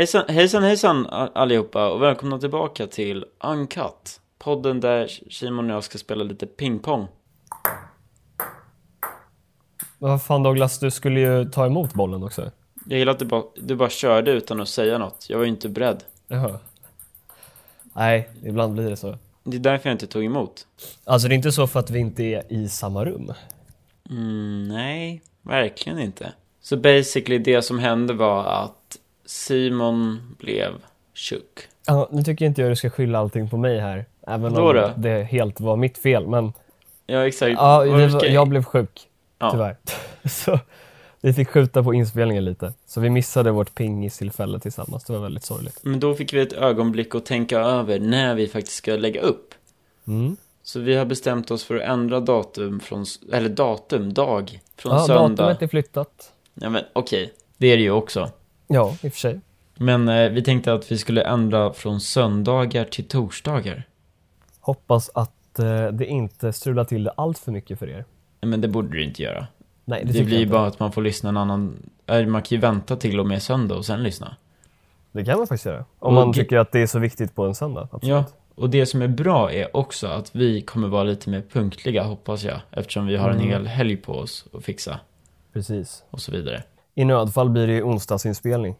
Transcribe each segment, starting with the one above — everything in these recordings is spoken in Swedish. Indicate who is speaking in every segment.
Speaker 1: Hejsan, hejsan, hejsan a- allihopa och välkomna tillbaka till Uncut. Podden där Simon och jag ska spela lite pingpong.
Speaker 2: Men Vad fan Douglas, du skulle ju ta emot bollen också.
Speaker 1: Jag gillar att du bara, du bara körde utan att säga något. Jag var ju inte beredd.
Speaker 2: Jaha. Nej, ibland blir det så.
Speaker 1: Det är därför jag inte tog emot.
Speaker 2: Alltså det är inte så för att vi inte är i samma rum.
Speaker 1: Mm, nej, verkligen inte. Så basically det som hände var att Simon blev tjock.
Speaker 2: Ja, nu tycker inte jag du ska skylla allting på mig här. Även
Speaker 1: Vadå
Speaker 2: om
Speaker 1: då?
Speaker 2: det helt var mitt fel. Men
Speaker 1: Ja, exakt.
Speaker 2: ja,
Speaker 1: Vad
Speaker 2: det var,
Speaker 1: ska-
Speaker 2: jag blev sjuk,
Speaker 1: Ja.
Speaker 2: tyvärr. så vi fick skjuta på inspelningen lite. Så vi missade vårt pingistillfälle tillsammans. Det var väldigt sorgligt.
Speaker 1: Men då fick vi ett ögonblick att tänka över när vi faktiskt ska lägga upp.
Speaker 2: Mm.
Speaker 1: Så vi har bestämt oss för att ändra datum från, eller datum, dag, från
Speaker 2: Ja,
Speaker 1: söndag.
Speaker 2: datumet är flyttat.
Speaker 1: Ja men okej, det är det ju också.
Speaker 2: Ja, i och för sig.
Speaker 1: Men eh, vi tänkte att vi skulle ändra från söndagar till torsdagar.
Speaker 2: Hoppas att eh, det inte strular till det allt för mycket för er.
Speaker 1: Nej, Men det borde du inte göra.
Speaker 2: Nej, det,
Speaker 1: Det,
Speaker 2: tycker jag
Speaker 1: blir ju
Speaker 2: inte.
Speaker 1: bara att man får lyssna en annan, eller man kan ju vänta till och med söndag och sen lyssna.
Speaker 2: Det kan man faktiskt göra.
Speaker 1: Och
Speaker 2: Om man
Speaker 1: ge-
Speaker 2: tycker att det är så viktigt på en söndag. Absolut.
Speaker 1: Ja, och det som är bra är också att vi kommer vara lite mer punktliga hoppas jag. Eftersom vi har en
Speaker 2: Mm.
Speaker 1: hel helg på oss att fixa
Speaker 2: Precis.
Speaker 1: och så vidare.
Speaker 2: I nödfall blir det ju onsdagsinspelning.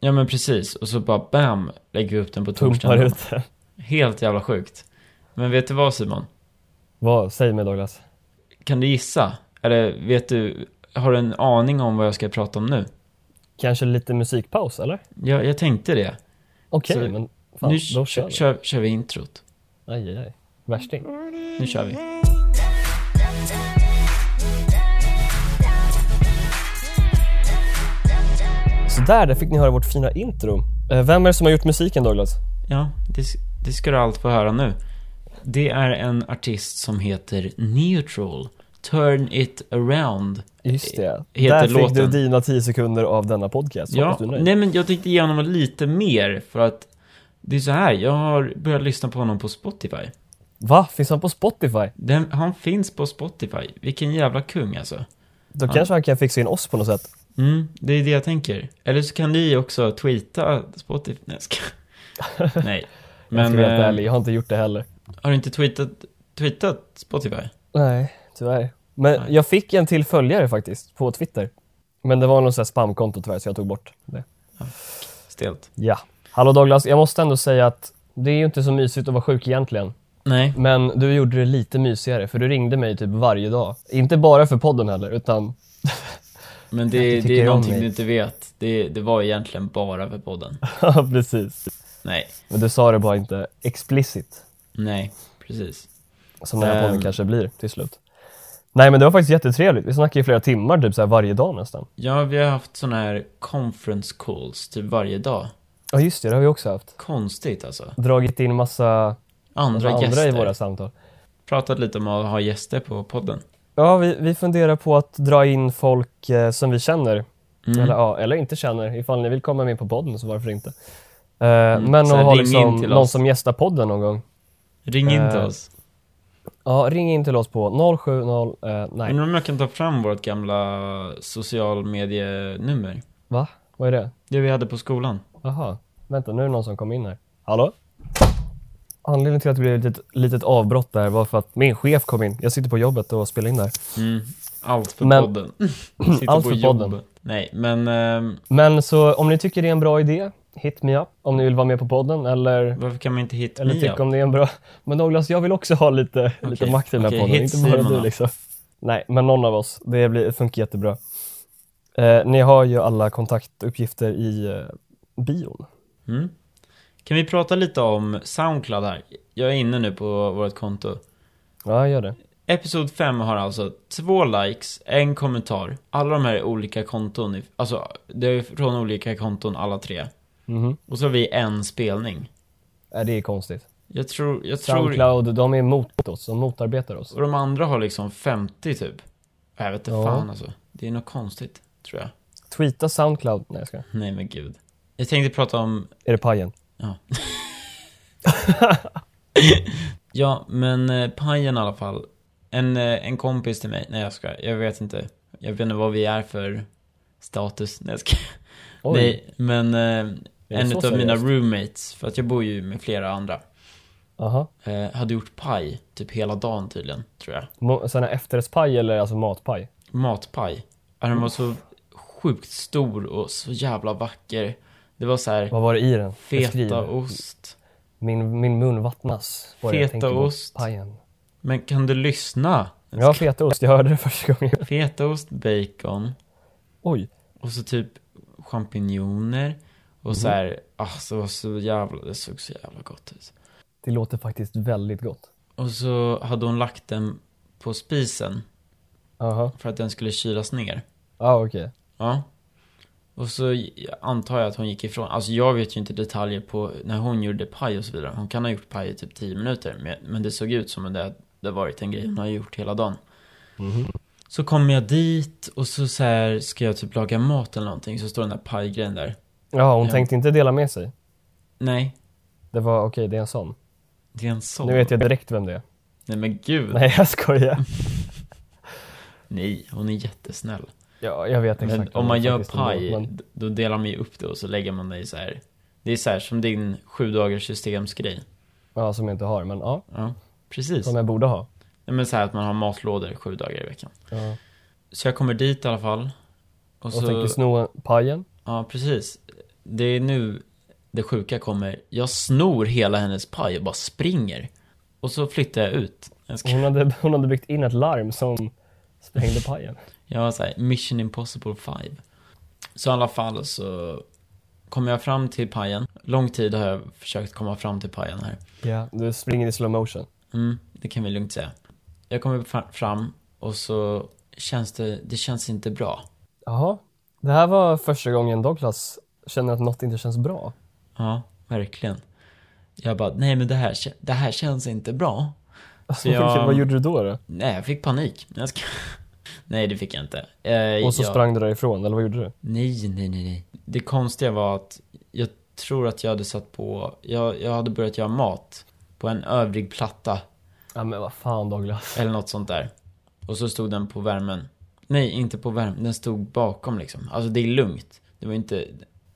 Speaker 1: Ja men precis, och så bara bam, lägger vi upp den på
Speaker 2: Tumpar
Speaker 1: torsdagen.
Speaker 2: ut det.
Speaker 1: Helt jävla sjukt. Men vet du vad Simon?
Speaker 2: Vad? Säg mig Douglas.
Speaker 1: Kan du gissa? Eller vet du, har du en aning om vad jag ska prata om nu?
Speaker 2: Kanske lite musikpaus eller?
Speaker 1: Ja, jag tänkte det.
Speaker 2: Okej,
Speaker 1: Så-
Speaker 2: men fan,
Speaker 1: nu
Speaker 2: då
Speaker 1: kö-
Speaker 2: kör vi.
Speaker 1: kör, kör vi introt.
Speaker 2: Aj, aj, aj. Värsting.
Speaker 1: Nu kör vi.
Speaker 2: Så där, där fick ni höra vårt fina intro. Eh, Vem är det som har gjort musiken Douglas?
Speaker 1: Ja, det, s- det ska du allt få höra nu. Det är en artist som heter Neutral. Turn it around.
Speaker 2: Just det.
Speaker 1: Heter
Speaker 2: Eh, där fick du
Speaker 1: låten.
Speaker 2: dina 10 sekunder av denna podcast.
Speaker 1: Ja,
Speaker 2: Hoppas du är nöjd.
Speaker 1: nej men jag tänkte ge honom lite mer för att det är så här, jag har börjat lyssna på honom på Spotify.
Speaker 2: Va? Finns han på Spotify?
Speaker 1: Den, han finns på Spotify. Vilken jävla kung alltså.
Speaker 2: Då
Speaker 1: Ja.
Speaker 2: kanske han kan fixa in oss på något sätt.
Speaker 1: Mm, det är det jag tänker. Eller så kan ni också tweeta Spotify. Nej, jag ska... Nej.
Speaker 2: Men,
Speaker 1: Men
Speaker 2: jag, äh...
Speaker 1: eh,
Speaker 2: ärlig, jag har inte gjort det heller.
Speaker 1: har du inte tweetat, tweetat Spotify?
Speaker 2: Nej, tyvärr. Men
Speaker 1: Nej.
Speaker 2: jag fick en till följare faktiskt, på Twitter. Men det var någon sån här spamkonto tyvärr, så jag tog bort det.
Speaker 1: Stelt.
Speaker 2: Ja. Hallå Douglas, jag måste ändå säga att det är ju inte så mysigt att vara sjuk egentligen.
Speaker 1: Nej.
Speaker 2: Men du gjorde det lite mysigare, för du ringde mig typ varje dag. Inte bara för podden heller, utan
Speaker 1: Men
Speaker 2: Ja,
Speaker 1: det,
Speaker 2: du
Speaker 1: det
Speaker 2: tycker
Speaker 1: är
Speaker 2: om
Speaker 1: någonting
Speaker 2: mig.
Speaker 1: du inte vet. Det, det var egentligen bara för podden.
Speaker 2: Ja, precis.
Speaker 1: Nej.
Speaker 2: Men du sa det bara inte explicit,
Speaker 1: Nej, precis.
Speaker 2: som den här podden
Speaker 1: Ehm.
Speaker 2: kanske blir till slut. Nej men det var faktiskt jättetrevligt. Vi snackade i flera timmar typ så här varje dag nästan.
Speaker 1: Ja, vi har haft såna här conference calls typ varje dag.
Speaker 2: Ja just det, det har vi också haft.
Speaker 1: Konstigt alltså.
Speaker 2: Dragit in massa
Speaker 1: Andra,
Speaker 2: andra, andra
Speaker 1: gäster.
Speaker 2: i våra samtal.
Speaker 1: Pratat lite om att ha gäster på podden.
Speaker 2: Ja, vi, vi funderar på att dra in folk eh, som vi känner,
Speaker 1: Mm.
Speaker 2: eller, ja, eller inte känner. Ifall ni vill komma med på podden så varför inte. Eh, Men
Speaker 1: Mm. så
Speaker 2: att ha
Speaker 1: ring in
Speaker 2: liksom
Speaker 1: till
Speaker 2: någon
Speaker 1: oss.
Speaker 2: som gästar podden någon gång.
Speaker 1: Ring in till
Speaker 2: Eh,
Speaker 1: oss.
Speaker 2: Ja, ring in till oss på 070... Eh, nej,
Speaker 1: Undrar om jag kan ta fram vårt gamla social medienummer.
Speaker 2: va? Vad är det?
Speaker 1: Det vi hade på skolan.
Speaker 2: Jaha. Vänta, nu är det någon som kom in här. Hallå? Anledningen till att det blev ett litet, litet avbrott där var för att min chef kom in. Jag sitter på jobbet och spelar in där.
Speaker 1: Mm. Allt för
Speaker 2: Men-
Speaker 1: podden. Sitter
Speaker 2: Allt
Speaker 1: på
Speaker 2: för
Speaker 1: jobb.
Speaker 2: podden.
Speaker 1: Nej, men ehm,
Speaker 2: Men så om ni tycker det är en bra idé, hit me up om ni vill vara med på podden eller
Speaker 1: varför kan man inte hitta
Speaker 2: Eller tycker om det är en bra... Men Douglas, jag vill också ha lite, lite
Speaker 1: Okej,
Speaker 2: makt i den här
Speaker 1: okej, hit
Speaker 2: podden. Inte bara
Speaker 1: Simon
Speaker 2: du
Speaker 1: då.
Speaker 2: liksom. Nej, men någon av oss. Det, blir, det funkar jättebra. Eh, ni har ju alla kontaktuppgifter i eh, bion.
Speaker 1: Mm. Kan vi prata lite om Soundcloud här? Jag är inne nu på vårt konto.
Speaker 2: Ja, gör det.
Speaker 1: Episod 5 har alltså två likes, en kommentar. Alla de här är olika konton. i- Alltså, det är från olika konton alla tre.
Speaker 2: Mhm.
Speaker 1: Och så har vi en spelning.
Speaker 2: Nej, det är konstigt.
Speaker 1: Jag tror, jag tror...
Speaker 2: Soundcloud, de är emot oss. De motarbetar oss.
Speaker 1: Och de andra har liksom 50 typ. Jag vet inte
Speaker 2: Ja.
Speaker 1: fan alltså. Det är något konstigt, tror jag.
Speaker 2: Tweeta Soundcloud. Nej, jag ska.
Speaker 1: Nej men gud. Jag tänkte prata om,
Speaker 2: Är det pajen?
Speaker 1: ja men eh, pajen i alla fall. En, eh, en kompis till mig, nej jag ska, jag vet inte. Jag vet inte vad vi är för status, nej jag ska.
Speaker 2: Oj.
Speaker 1: Nej, men eh,
Speaker 2: Det är
Speaker 1: En
Speaker 2: så
Speaker 1: av mina
Speaker 2: seriöst.
Speaker 1: roommates, för att jag bor ju med flera andra,
Speaker 2: Aha.
Speaker 1: eh, hade gjort paj typ hela dagen tydligen, tror jag.
Speaker 2: Mo- Sån här efterrättspaj eller alltså matpaj?
Speaker 1: Matpaj. Ja, Den var så sjukt stor och så jävla vacker. Det var så här
Speaker 2: Vad var det i den? Beskriv.
Speaker 1: fetaost.
Speaker 2: Min, min mun vattnas. bara jag tänker på
Speaker 1: Fetaost.
Speaker 2: Pajen.
Speaker 1: Men kan du lyssna?
Speaker 2: Ja, fetaost. Jag hörde det första gången.
Speaker 1: Fetaost, bacon
Speaker 2: Oj.
Speaker 1: och så typ champinjoner och
Speaker 2: Mhm.
Speaker 1: så här, ah, så var så jävla, det såg så jävla gott ut.
Speaker 2: Det låter faktiskt väldigt gott.
Speaker 1: Och så hade hon lagt den på spisen
Speaker 2: Aha.
Speaker 1: för att den skulle kylas ner.
Speaker 2: Ja, ah, okej.
Speaker 1: Ja. Och så i- antar jag att hon gick ifrån. Alltså jag vet ju inte detaljer på när hon gjorde paj och så vidare. Hon kan ha gjort paj i typ 10 minuter. men- Men det såg ut som att det, det varit en grej hon har gjort hela dagen. Mhm. Så kommer jag dit och så, så här ska jag typ laga mat eller någonting. Så står den där pajgrejen där.
Speaker 2: Ja, hon
Speaker 1: Ja.
Speaker 2: tänkte inte dela med sig.
Speaker 1: Nej,
Speaker 2: Det var okej, det är en sån.
Speaker 1: det är en sån.
Speaker 2: Nu vet jag direkt vem det är.
Speaker 1: Nej men gud. Nej,
Speaker 2: Nej, jag skojar.
Speaker 1: hon är jättesnäll.
Speaker 2: Ja, jag vet exakt.
Speaker 1: Men
Speaker 2: vem
Speaker 1: om man
Speaker 2: det
Speaker 1: gör
Speaker 2: faktiskt är,
Speaker 1: paj,
Speaker 2: men-
Speaker 1: d- då delar man ju upp det och så lägger man det i så här. Det är så här som din sju dagars systemsgrej.
Speaker 2: Ja, som jag inte har. Men ja,
Speaker 1: Ja, precis.
Speaker 2: som jag borde ha.
Speaker 1: Nej, men så här att man har matlådor sju dagar i veckan.
Speaker 2: Ja.
Speaker 1: Så jag kommer dit i alla fall. Och
Speaker 2: Och
Speaker 1: så,
Speaker 2: tänker sno pajen.
Speaker 1: ja precis. Det är nu det sjuka kommer. Jag snor hela hennes paj och bara springer. Och så flyttar jag ut. Jag,
Speaker 2: Och
Speaker 1: ska,
Speaker 2: Hon hade, hon hade byggt in ett larm som sprängde pajen.
Speaker 1: jag var så här, mission impossible 5. Så i alla fall så kommer jag fram till pajen. Lång tid har jag försökt komma fram till pajen här.
Speaker 2: Ja. Du springer i slow motion.
Speaker 1: Mm, det kan vi lugnt säga. Jag kommer fra- fram och så känns det, det känns inte bra.
Speaker 2: Jaha. Det här var första gången Douglas känner att något inte känns bra.
Speaker 1: Ja, verkligen. Jag bara, nej men det här, kä- det här känns inte bra. Så jag,
Speaker 2: Vad gjorde du då? då?
Speaker 1: nej, jag fick panik. Nej, Jag ska... Nej, det fick jag inte. Eh,
Speaker 2: Och så
Speaker 1: jag...
Speaker 2: sprang du därifrån, eller vad gjorde du?
Speaker 1: Nej, nej, nej, nej. Det konstiga var att jag tror att jag hade satt på, jag, jag hade börjat göra mat på en övrig platta
Speaker 2: Ja men vad fan Douglas.
Speaker 1: eller något sånt där. Och så stod den på värmen. Nej, inte på värmen. Den stod bakom liksom. Alltså det är lugnt. Det var inte,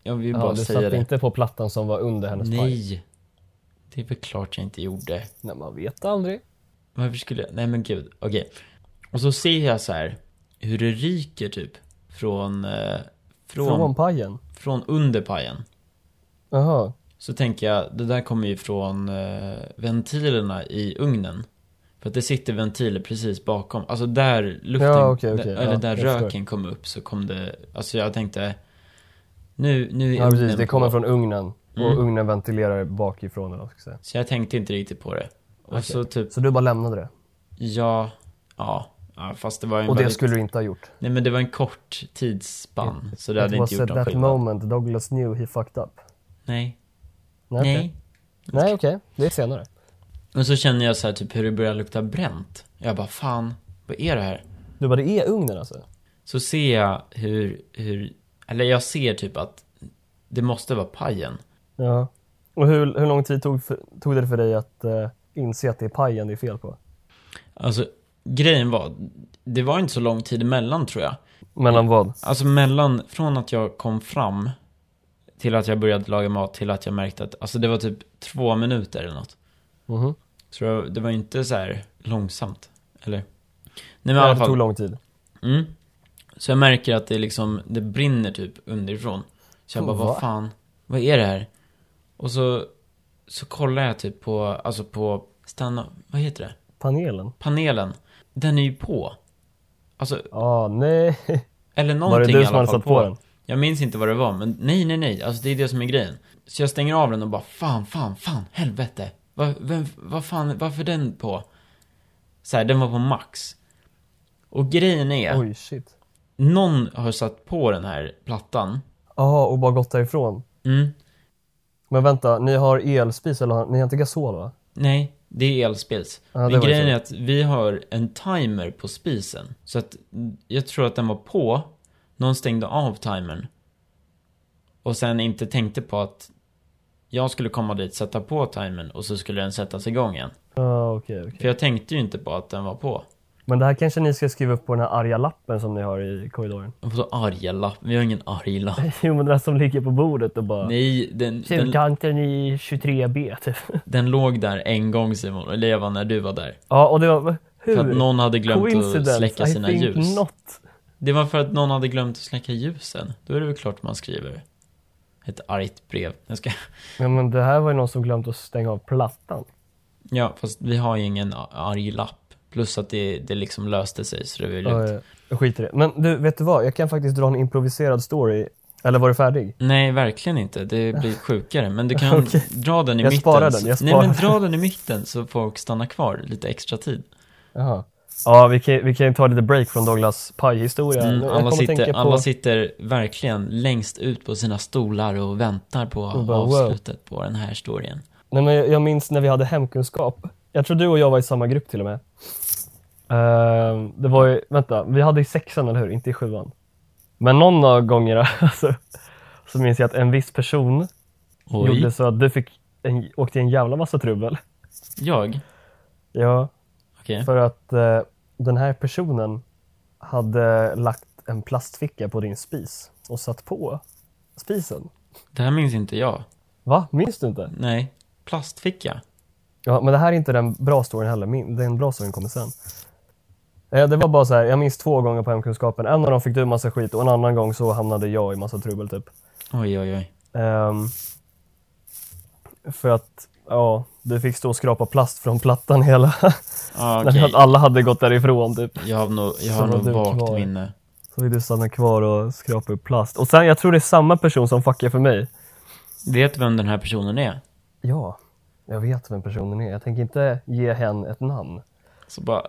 Speaker 1: jag vill
Speaker 2: Ja,
Speaker 1: bara
Speaker 2: du
Speaker 1: säga
Speaker 2: satt
Speaker 1: det.
Speaker 2: inte på plattan som var under hennes paj.
Speaker 1: Nej. Det är väl klart jag inte gjorde.
Speaker 2: Nej, man vet aldrig.
Speaker 1: Varför skulle jag? Nej men gud, okej. Och så ser jag så här hur det ryker typ från, eh,
Speaker 2: Från,
Speaker 1: från, från,
Speaker 2: pajen?
Speaker 1: under pajen.
Speaker 2: Jaha.
Speaker 1: Så tänker jag, det där kommer ju från eh, ventilerna i ugnen. För att det sitter ventiler precis bakom, alltså där luften,
Speaker 2: Ja, okej, okej.
Speaker 1: där, eller
Speaker 2: Ja,
Speaker 1: där
Speaker 2: jag förstår.
Speaker 1: röken kom upp så kom det, alltså jag tänkte, nu, nu är
Speaker 2: Ja precis,
Speaker 1: ugnen
Speaker 2: det kommer
Speaker 1: på.
Speaker 2: från ugnen.
Speaker 1: Mm.
Speaker 2: Och ugnen ventilerar bakifrån eller vad man ska säga.
Speaker 1: Så jag tänkte inte riktigt på det. Och
Speaker 2: Okej.
Speaker 1: så typ,
Speaker 2: Så du bara lämnade det?
Speaker 1: ja, ja, ja, fast det var ju en
Speaker 2: Och det
Speaker 1: väldigt-
Speaker 2: skulle du inte ha gjort?
Speaker 1: Nej men det var en kort tidsspann, så det hade
Speaker 2: It
Speaker 1: inte
Speaker 2: was
Speaker 1: gjort
Speaker 2: at
Speaker 1: någon
Speaker 2: that
Speaker 1: skillnad.
Speaker 2: moment Douglas knew he fucked up.
Speaker 1: Nej.
Speaker 2: Nej, okej.
Speaker 1: Nej.
Speaker 2: Nej, okej. Det är senare.
Speaker 1: Och så känner jag så här typ hur det börjar lukta bränt. Jag bara, fan, vad är det här?
Speaker 2: Du bara, det är ugnen alltså?
Speaker 1: Så ser jag hur, hur, eller jag ser typ att det måste vara pajen.
Speaker 2: Ja. Och hur, hur lång tid tog, för, tog det för dig att eh, inse att det är pajen det är fel på?
Speaker 1: Alltså, grejen var, det var inte så lång tid emellan tror jag.
Speaker 2: Mellan vad?
Speaker 1: Alltså mellan, från att jag kom fram till att jag började laga mat till att jag märkte att, alltså det var typ två minuter eller något.
Speaker 2: Mhm.
Speaker 1: Så det var- det var inte så här långsamt, eller? Nej men i
Speaker 2: Ja,
Speaker 1: alla
Speaker 2: det
Speaker 1: fall.
Speaker 2: tog lång tid.
Speaker 1: Mm. Så jag märker att det liksom, det brinner typ underifrån. Så jag bara,
Speaker 2: Va?
Speaker 1: vad fan, vad är det här? Och så, så kollar jag typ på, alltså på, stanna, vad heter det?
Speaker 2: Panelen?
Speaker 1: Panelen. Den är ju på. Alltså,
Speaker 2: Ah, nej.
Speaker 1: eller
Speaker 2: Var det
Speaker 1: någonting
Speaker 2: du
Speaker 1: i
Speaker 2: som
Speaker 1: alla
Speaker 2: hade
Speaker 1: fall
Speaker 2: satt på den?
Speaker 1: Jag minns inte vad det var, men nej, nej, nej, alltså det är det som är grejen. Så jag stänger av den och bara, fan, fan, fan, helvete. Vad, vem, vad fan, varför den på? Så här, den var på max. Och grejen är,
Speaker 2: Oj, shit.
Speaker 1: någon har satt på den här plattan.
Speaker 2: Ja, Ah, och bara gått därifrån.
Speaker 1: Mm.
Speaker 2: Men vänta, ni har elspis eller har, ni har inte gasol va?
Speaker 1: Nej, det är elspis.
Speaker 2: Ja, det
Speaker 1: Men
Speaker 2: var
Speaker 1: grejen
Speaker 2: ju
Speaker 1: är att vi har en timer på spisen. Så att mm, jag tror att den var på, någon stängde av timern. Och sen inte tänkte på att jag skulle komma dit, sätta på timern och så skulle den sättas igång igen.
Speaker 2: Ja, Ah, okej, okej.
Speaker 1: För jag tänkte ju inte på att den var på.
Speaker 2: Men det här kanske ni ska skriva upp på den här arga lappen som ni har i korridoren.
Speaker 1: Vadå arga lapp? Vi har ingen arg lapp.
Speaker 2: Jo, men den här som ligger på bordet och bara...
Speaker 1: Nej, den, den,
Speaker 2: Fyrkanten i 23B, typ.
Speaker 1: den låg där en gång Simon, eller jag var när du var där.
Speaker 2: Ja, och det var... Hur?
Speaker 1: För att någon hade glömt att
Speaker 2: Coincidence,
Speaker 1: släcka
Speaker 2: I
Speaker 1: sina
Speaker 2: think
Speaker 1: ljus.
Speaker 2: Not.
Speaker 1: Det var för att någon hade glömt att släcka ljusen. Då är det väl klart man skriver ett argt brev. Jag ska...
Speaker 2: Ja, men det här var ju någon som glömt att stänga av plattan.
Speaker 1: Ja, fast vi har ju ingen a- arg lapp. Plus att det, det liksom löste sig så det var ju lugnt.
Speaker 2: Ja, ja. Jag skiter i det. Men du, vet du vad? Jag kan faktiskt dra en improviserad story. Eller var du färdig?
Speaker 1: Nej, verkligen inte. Det blir sjukare. Men du kan
Speaker 2: Okej.
Speaker 1: dra den i
Speaker 2: Jag
Speaker 1: mitten.
Speaker 2: sparar den,
Speaker 1: så-
Speaker 2: jag
Speaker 1: Nej,
Speaker 2: sparar
Speaker 1: men dra den i mitten så folk stannar kvar lite extra tid.
Speaker 2: Jaha. Ja, vi kan, vi kan ta lite break från Douglas pajhistoria.
Speaker 1: Mm,
Speaker 2: Nu- Oh, jag
Speaker 1: alla,
Speaker 2: kommer
Speaker 1: sitter,
Speaker 2: tänka på-
Speaker 1: alla sitter verkligen längst ut på sina stolar och väntar på
Speaker 2: Och bara, wow.
Speaker 1: avslutet på den här historien.
Speaker 2: Nej, men jag, jag minns när vi hade hemkunskap. Jag tror du och jag var i samma grupp till och med. Ehm, det var ju, vänta, vi hade i sexan, eller hur? Inte i sjuan. Men någon av gångerna alltså, så minns jag att en viss person
Speaker 1: Oj,
Speaker 2: gjorde så att du fick en, åkte i en jävla massa trubbel.
Speaker 1: jag?
Speaker 2: Ja,
Speaker 1: Okej.
Speaker 2: för att eh, den här personen hade lagt en plastficka på din spis och satt på spisen.
Speaker 1: Det här minns inte jag.
Speaker 2: Va? Minns du inte?
Speaker 1: Nej. Plastficka?
Speaker 2: Ja, men det här är inte den bra storyn heller. Min, den bra storyn kommer sen. Eh, Det var bara så här, jag minns två gånger på hemkunskapen. En av dem fick du massa skit och en annan gång så hamnade jag i massa trubbel typ.
Speaker 1: Oj, oj, oj.
Speaker 2: Ehm, för att, ja, du fick stå och skrapa plast från plattan hela.
Speaker 1: Ah,
Speaker 2: När
Speaker 1: okej.
Speaker 2: att alla hade gått därifrån typ.
Speaker 1: Jag har nog, jag
Speaker 2: Så
Speaker 1: har
Speaker 2: var
Speaker 1: nog
Speaker 2: du
Speaker 1: vagt
Speaker 2: kvar.
Speaker 1: minne.
Speaker 2: Så fick du stanna kvar och skrapa upp plast. Och sen, jag tror det är samma person som fuckar för mig.
Speaker 1: Vet vem den här personen är?
Speaker 2: Ja, jag vet vem personen är. Jag tänker inte ge hen ett namn.
Speaker 1: Så bara...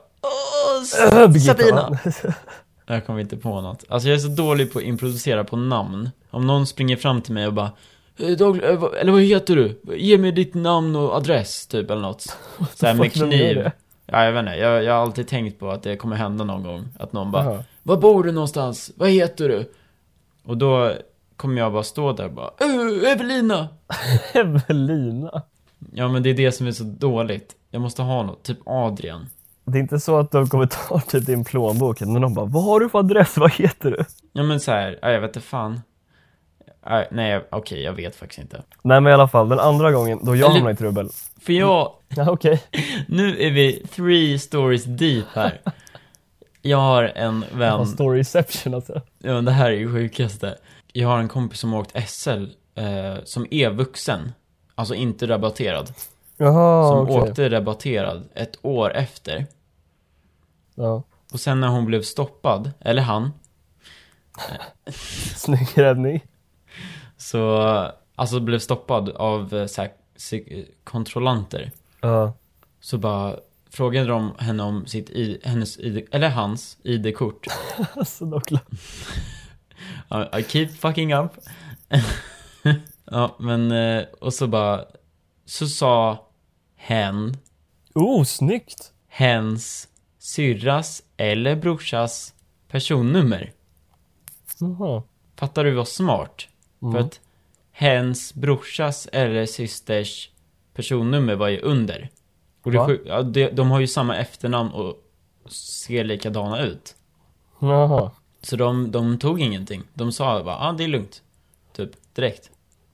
Speaker 2: Birgitta,
Speaker 1: Sabina.
Speaker 2: va?
Speaker 1: Jag kommer inte på något. Alltså jag är så dålig på att improvisera på namn. Om någon springer fram till mig och bara "Eh, Doug, eh, vad- eller vad heter du? Ge mig ditt namn och adress, typ, eller något. Såhär med
Speaker 2: fuck, vem gör
Speaker 1: kniv.
Speaker 2: det?
Speaker 1: Ja, jag vet inte. Jag, jag har alltid tänkt på att det kommer hända någon gång. Att någon bara,
Speaker 2: Jaha.
Speaker 1: var bor du någonstans? Vad heter du? Och då kommer jag bara stå där och bara, "Eh, Evelina!
Speaker 2: Evelina.
Speaker 1: Ja, men det är det som är så dåligt. Jag måste ha något, typ Adrian.
Speaker 2: Det är inte så att de kommer ta typ din plånbok, men de bara Vad har du för adress? Vad heter du?
Speaker 1: Ja, men såhär, ja, jag vet inte fan. Ja, Nej, jag- okej, jag vet faktiskt inte.
Speaker 2: Nej men i alla fall, den andra gången då jag
Speaker 1: Eller-
Speaker 2: hamnade i trubbel.
Speaker 1: För jag,
Speaker 2: Ja okej.
Speaker 1: Nu är vi three stories deep här. Jag har en
Speaker 2: Okay.
Speaker 1: vän,
Speaker 2: Storyception alltså.
Speaker 1: ja, men det här är ju sjukaste. Jag har en kompis som har åkt SL, eh, som är vuxen. Alltså inte rabatterad.
Speaker 2: Jaha
Speaker 1: Som
Speaker 2: okej.
Speaker 1: åkte rabatterad ett år efter.
Speaker 2: Ja.
Speaker 1: Och sen när hon blev stoppad, eller han,
Speaker 2: Snygg räddning.
Speaker 1: så, eh, alltså blev stoppad av eh, så här, se- eh, kontrollanter.
Speaker 2: Ja.
Speaker 1: Så bara frågade de henne om sitt I, hennes ID, eller hans ID-kort.
Speaker 2: Alltså Douglas.
Speaker 1: Ja, I keep fucking up. ja, men eh, och så bara, så sa hen,
Speaker 2: Oh snyggt!
Speaker 1: hens, syrras eller brorsas personnummer.
Speaker 2: Jaha.
Speaker 1: Fattar du vad smart?
Speaker 2: Mm.
Speaker 1: För att hens, brorsas eller systers personnummer var ju under. Och det, är
Speaker 2: Va?
Speaker 1: sjuk- ja, de, de har ju samma efternamn och ser likadana ut.
Speaker 2: Jaha.
Speaker 1: Så de, de tog ingenting. De sa bara, ja ah, det är lugnt. Typ, direkt.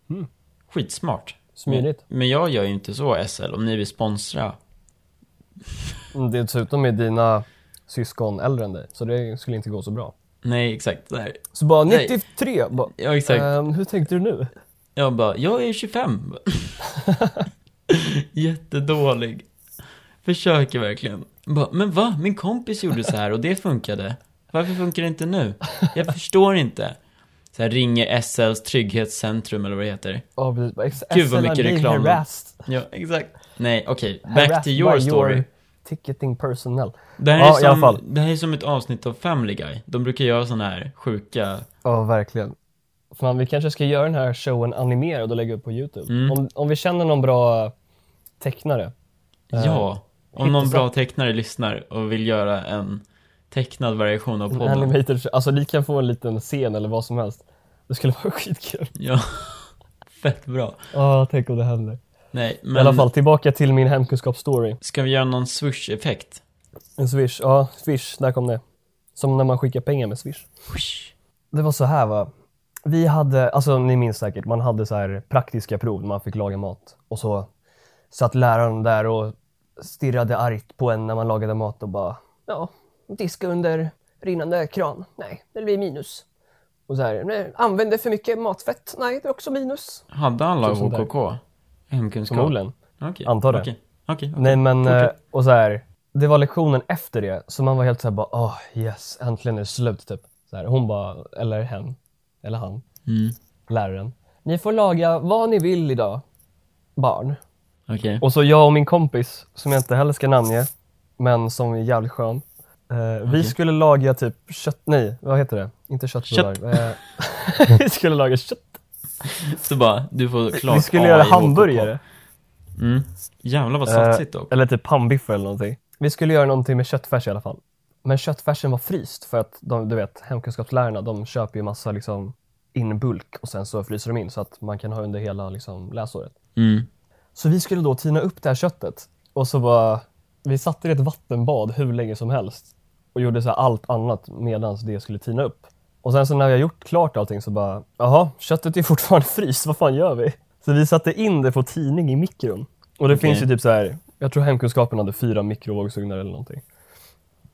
Speaker 2: Mm.
Speaker 1: Skitsmart.
Speaker 2: Smidigt.
Speaker 1: Men, men jag gör ju inte så SL, om ni vill sponsra.
Speaker 2: Mm, Dessutom är dina syskon äldre än dig, så det skulle inte gå så bra.
Speaker 1: Nej, exakt. Där.
Speaker 2: Så bara
Speaker 1: Nej.
Speaker 2: 93, bara,
Speaker 1: Ja, exakt.
Speaker 2: ehm, hur tänkte du nu?
Speaker 1: Jag bara, jag är 25. Jättedålig. Försöker verkligen. Bara, men va? Min kompis gjorde så här och det funkade. Varför funkar det inte nu? Jag förstår inte. Så här ringer SLs trygghetscentrum eller vad det heter.
Speaker 2: Ja precis, bara, ex-
Speaker 1: Gud, vad
Speaker 2: SLM
Speaker 1: mycket
Speaker 2: being
Speaker 1: reklam.
Speaker 2: harassed.
Speaker 1: Ja, exakt. Nej, okej. Back
Speaker 2: Harassed
Speaker 1: to
Speaker 2: by
Speaker 1: your story.
Speaker 2: ticketing personnel.
Speaker 1: Det här,
Speaker 2: Ja,
Speaker 1: är
Speaker 2: i
Speaker 1: som,
Speaker 2: alla fall.
Speaker 1: det här är som ett avsnitt av Family Guy. De brukar göra såna här sjuka...
Speaker 2: Ja, verkligen. Fan, vi kanske ska göra den här showen animerad och lägga upp på Youtube.
Speaker 1: Mm.
Speaker 2: Om, om vi känner någon bra tecknare. Eh,
Speaker 1: ja. Om någon
Speaker 2: hittar
Speaker 1: bra tecknare lyssnar och vill göra en tecknad version av
Speaker 2: en
Speaker 1: podden.
Speaker 2: Animator, alltså ni kan få en liten scen eller vad som helst. Det skulle vara skitkul.
Speaker 1: Ja. Fett bra.
Speaker 2: Ja, tänk om det händer.
Speaker 1: Nej, men
Speaker 2: I alla fall, tillbaka till min hemkunskapsstory.
Speaker 1: ska vi göra någon swoosh-effekt?
Speaker 2: En swish, ja swish, där kom det. Som när man skickar pengar med swish. Det var så här va. Vi hade, alltså ni minns säkert, man hade så här praktiska prov när man fick laga mat. Och så satt läraren där och stirrade argt på en när man lagade mat och bara ja, diska under rinnande kran. Nej, det blir minus. Och så här, "Nej, använder för mycket matfett. Nej, det är också minus.
Speaker 1: Hade alla
Speaker 2: Så- sånt där.
Speaker 1: HKK? Hemkunskap?
Speaker 2: Skolan.
Speaker 1: Okej.
Speaker 2: Antar det.
Speaker 1: Okej. Okej.
Speaker 2: Nej men,
Speaker 1: Fortsätt.
Speaker 2: eh, och så här, det var lektionen efter det, så man var helt såhär bara åh yes, äntligen är det slut typ. Så här, hon bara, eller hen, eller han,
Speaker 1: Mm.
Speaker 2: läraren. Ni får laga vad ni vill idag, barn.
Speaker 1: Okej.
Speaker 2: Och så jag och min kompis, som jag inte heller ska namnge, men som är jävligt skön. Eh, Vi
Speaker 1: Okej.
Speaker 2: skulle laga typ kött, nej vad heter det? Inte köttbullar. Eh, vi skulle laga kött.
Speaker 1: Så bara, du får klart
Speaker 2: vi skulle
Speaker 1: A
Speaker 2: göra
Speaker 1: i HKK.
Speaker 2: hamburgare.
Speaker 1: Mm. Jävlar vad satsigt dock.
Speaker 2: Eh, Eller typ pannbiffar eller någonting. Vi skulle göra någonting med köttfärs i alla fall. Men köttfärsen var fryst för att de, du vet, hemkunskapslärarna de köper ju massa liksom in bulk och sen så fryser de in så att man kan ha under hela liksom, läsåret.
Speaker 1: Mm.
Speaker 2: Så vi skulle då tina upp det här köttet och så var vi satt i ett vattenbad hur länge som helst och gjorde så här allt annat medan det skulle tina upp. Och sen så när vi har gjort klart allting så bara, jaha, köttet är fortfarande fryst, vad fan gör vi? Så vi satte in det på tidning i mikron. Och det
Speaker 1: Okej.
Speaker 2: finns ju typ så här, jag tror hemkunskapen hade fyra mikrovågsugnar eller någonting.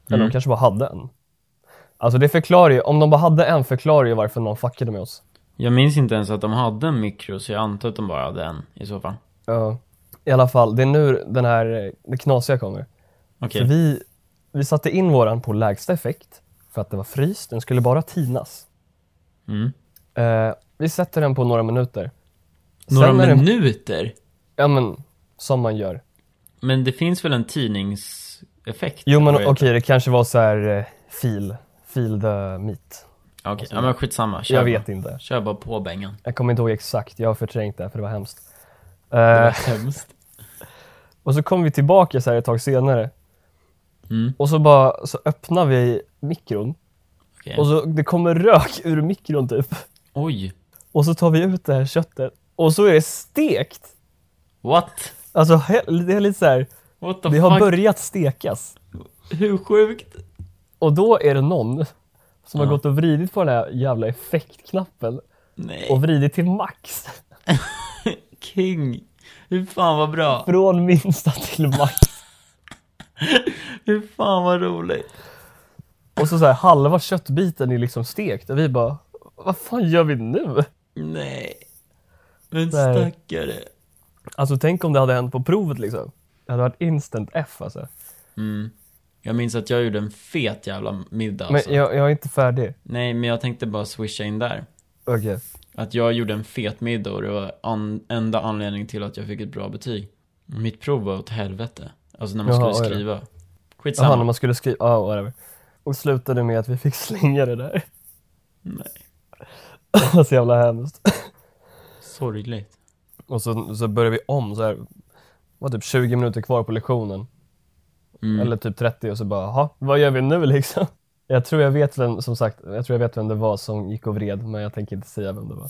Speaker 2: Eller
Speaker 1: Mm.
Speaker 2: de kanske bara hade en. Alltså det förklarar ju, om de bara hade en förklarar ju varför någon fuckade med oss.
Speaker 1: Jag minns inte ens att de hade en mikro, så jag antar att de bara hade en i så fall.
Speaker 2: Ja. I alla fall, det är nu den här, eh, det knasiga kommer.
Speaker 1: Okej.
Speaker 2: För vi, vi satte in våran på lägsta effekt för att det var fryst. Den skulle bara tinas.
Speaker 1: Mm.
Speaker 2: Eh, vi sätter den på några minuter.
Speaker 1: Några
Speaker 2: Sen när den-
Speaker 1: minuter?
Speaker 2: Ja, men som man gör.
Speaker 1: Men det finns väl en tidningseffekt?
Speaker 2: Jo, men
Speaker 1: Vad
Speaker 2: okej,
Speaker 1: heter
Speaker 2: det kanske var så här eh, feel, feel the meat.
Speaker 1: det? Okej, ja men skitsamma. Kör
Speaker 2: Jag
Speaker 1: bara.
Speaker 2: vet inte.
Speaker 1: Kör bara på Bengan.
Speaker 2: Jag kommer inte ihåg exakt. Jag har förträngt det, för det var hemskt. Eh,
Speaker 1: Det var hemskt.
Speaker 2: Och så kom vi tillbaka så här ett tag senare
Speaker 1: Mm,
Speaker 2: och så bara så öppnar vi mikron
Speaker 1: okej.
Speaker 2: och så det kommer rök ur mikron typ.
Speaker 1: Oj.
Speaker 2: Och så tar vi ut det här köttet och så är det stekt.
Speaker 1: What?
Speaker 2: Alltså he- det är lite så här,
Speaker 1: What the
Speaker 2: det
Speaker 1: fuck?
Speaker 2: har börjat stekas.
Speaker 1: Hur sjukt?
Speaker 2: Och då är det någon
Speaker 1: Ja.
Speaker 2: som har gått och vridit på den här jävla effektknappen
Speaker 1: Nej.
Speaker 2: och vridit till max.
Speaker 1: King. Hur fan vad bra.
Speaker 2: Från minsta till max.
Speaker 1: Hur fan vad roligt.
Speaker 2: Och så, så här, halva köttbiten är liksom stekt och vi bara, vad fan gör vi nu?
Speaker 1: Nej. Men
Speaker 2: Nej.
Speaker 1: stackare.
Speaker 2: Alltså tänk om det hade hänt på provet liksom. Det hade varit instant F alltså.
Speaker 1: Mm. Jag minns att jag gjorde en fet jävla middag alltså.
Speaker 2: Men jag, jag är inte färdig.
Speaker 1: Nej, men jag tänkte bara swisha in där.
Speaker 2: Okej.
Speaker 1: Att jag gjorde en fet middag och det var an- enda anledningen till att jag fick ett bra betyg. Mitt prov var åt helvete. Alltså när man
Speaker 2: Jaha,
Speaker 1: skulle
Speaker 2: oj då.
Speaker 1: skriva.
Speaker 2: Jaha,
Speaker 1: Skitsamma.
Speaker 2: när man skulle skriva, ja whatever. Och slutade med att vi fick slänga det där.
Speaker 1: Nej.
Speaker 2: Det var så jävla hemskt.
Speaker 1: Sorgligt.
Speaker 2: Och så, så började vi om så här. Det var typ 20 minuter kvar på lektionen.
Speaker 1: Mm.
Speaker 2: Eller typ 30 och så bara, jaha, vad gör vi nu liksom? Jag tror jag vet vem, som sagt, jag tror jag vet vem det var som gick och vred, men jag tänker inte säga vem det var.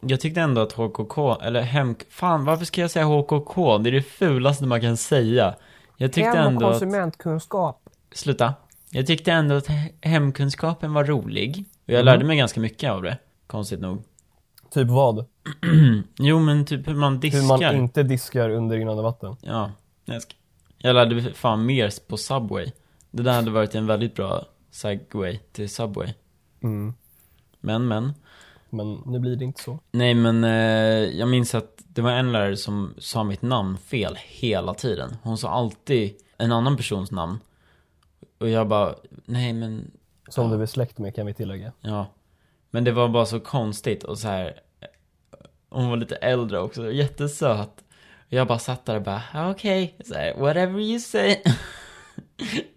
Speaker 1: Jag tyckte ändå att HKK, eller hem... Fan, varför ska jag säga HKK? Det är det fulaste man kan säga. Jag tyckte ändå att...
Speaker 2: konsumentkunskap.
Speaker 1: Sluta. Jag tyckte ändå att he- hemkunskapen var rolig. Och
Speaker 2: Mm.
Speaker 1: jag lärde mig ganska mycket av det. Konstigt nog.
Speaker 2: Typ vad?
Speaker 1: Jo, men typ hur man diskar.
Speaker 2: Hur man inte diskar under rinnande vatten.
Speaker 1: Ja, jag, ska... jag lärde mig fan mer på Subway. Det där hade varit en väldigt bra segway till Subway.
Speaker 2: Mm.
Speaker 1: Men, men.
Speaker 2: Men nu blir det inte så.
Speaker 1: Nej men eh, jag minns att det var en lärare som sa mitt namn fel hela tiden. Hon sa alltid en annan persons namn. Och jag bara, nej men,
Speaker 2: Som
Speaker 1: Ja.
Speaker 2: du är släkt med kan vi tillägga.
Speaker 1: ja. Men det var bara så konstigt och så här. eh, Hon var lite äldre också, jättesöt. Och jag bara satt där och bara, "Ah, okej, så här, whatever you say.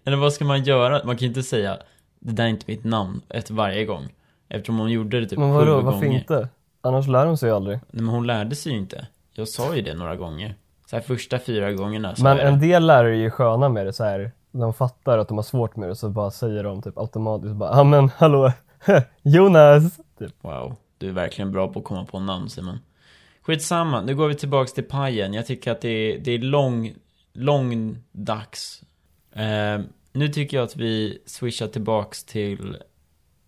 Speaker 1: Eller vad ska man göra? Man kan ju inte säga, det där är inte mitt namn, ett varje gång. Eftersom hon gjorde det typ
Speaker 2: Men
Speaker 1: sju
Speaker 2: vadå,
Speaker 1: gånger.
Speaker 2: varför inte? Annars lär de sig aldrig.
Speaker 1: Nej men hon lärde sig ju inte. Jag sa ju det några gånger. Så här första fyra gångerna sa
Speaker 2: Men
Speaker 1: jag
Speaker 2: en
Speaker 1: det.
Speaker 2: del lärare är ju sköna med det så här. De fattar att de har svårt med det så bara säger de typ automatiskt bara ja men hallå Jonas! Typ.
Speaker 1: Wow, du är verkligen bra på att komma på namn Simon. Skitsamma, nu går vi tillbaks till pajen. Jag tycker att det är, det är lång, lång dags. Eh, Nu tycker jag att vi swishar tillbaks till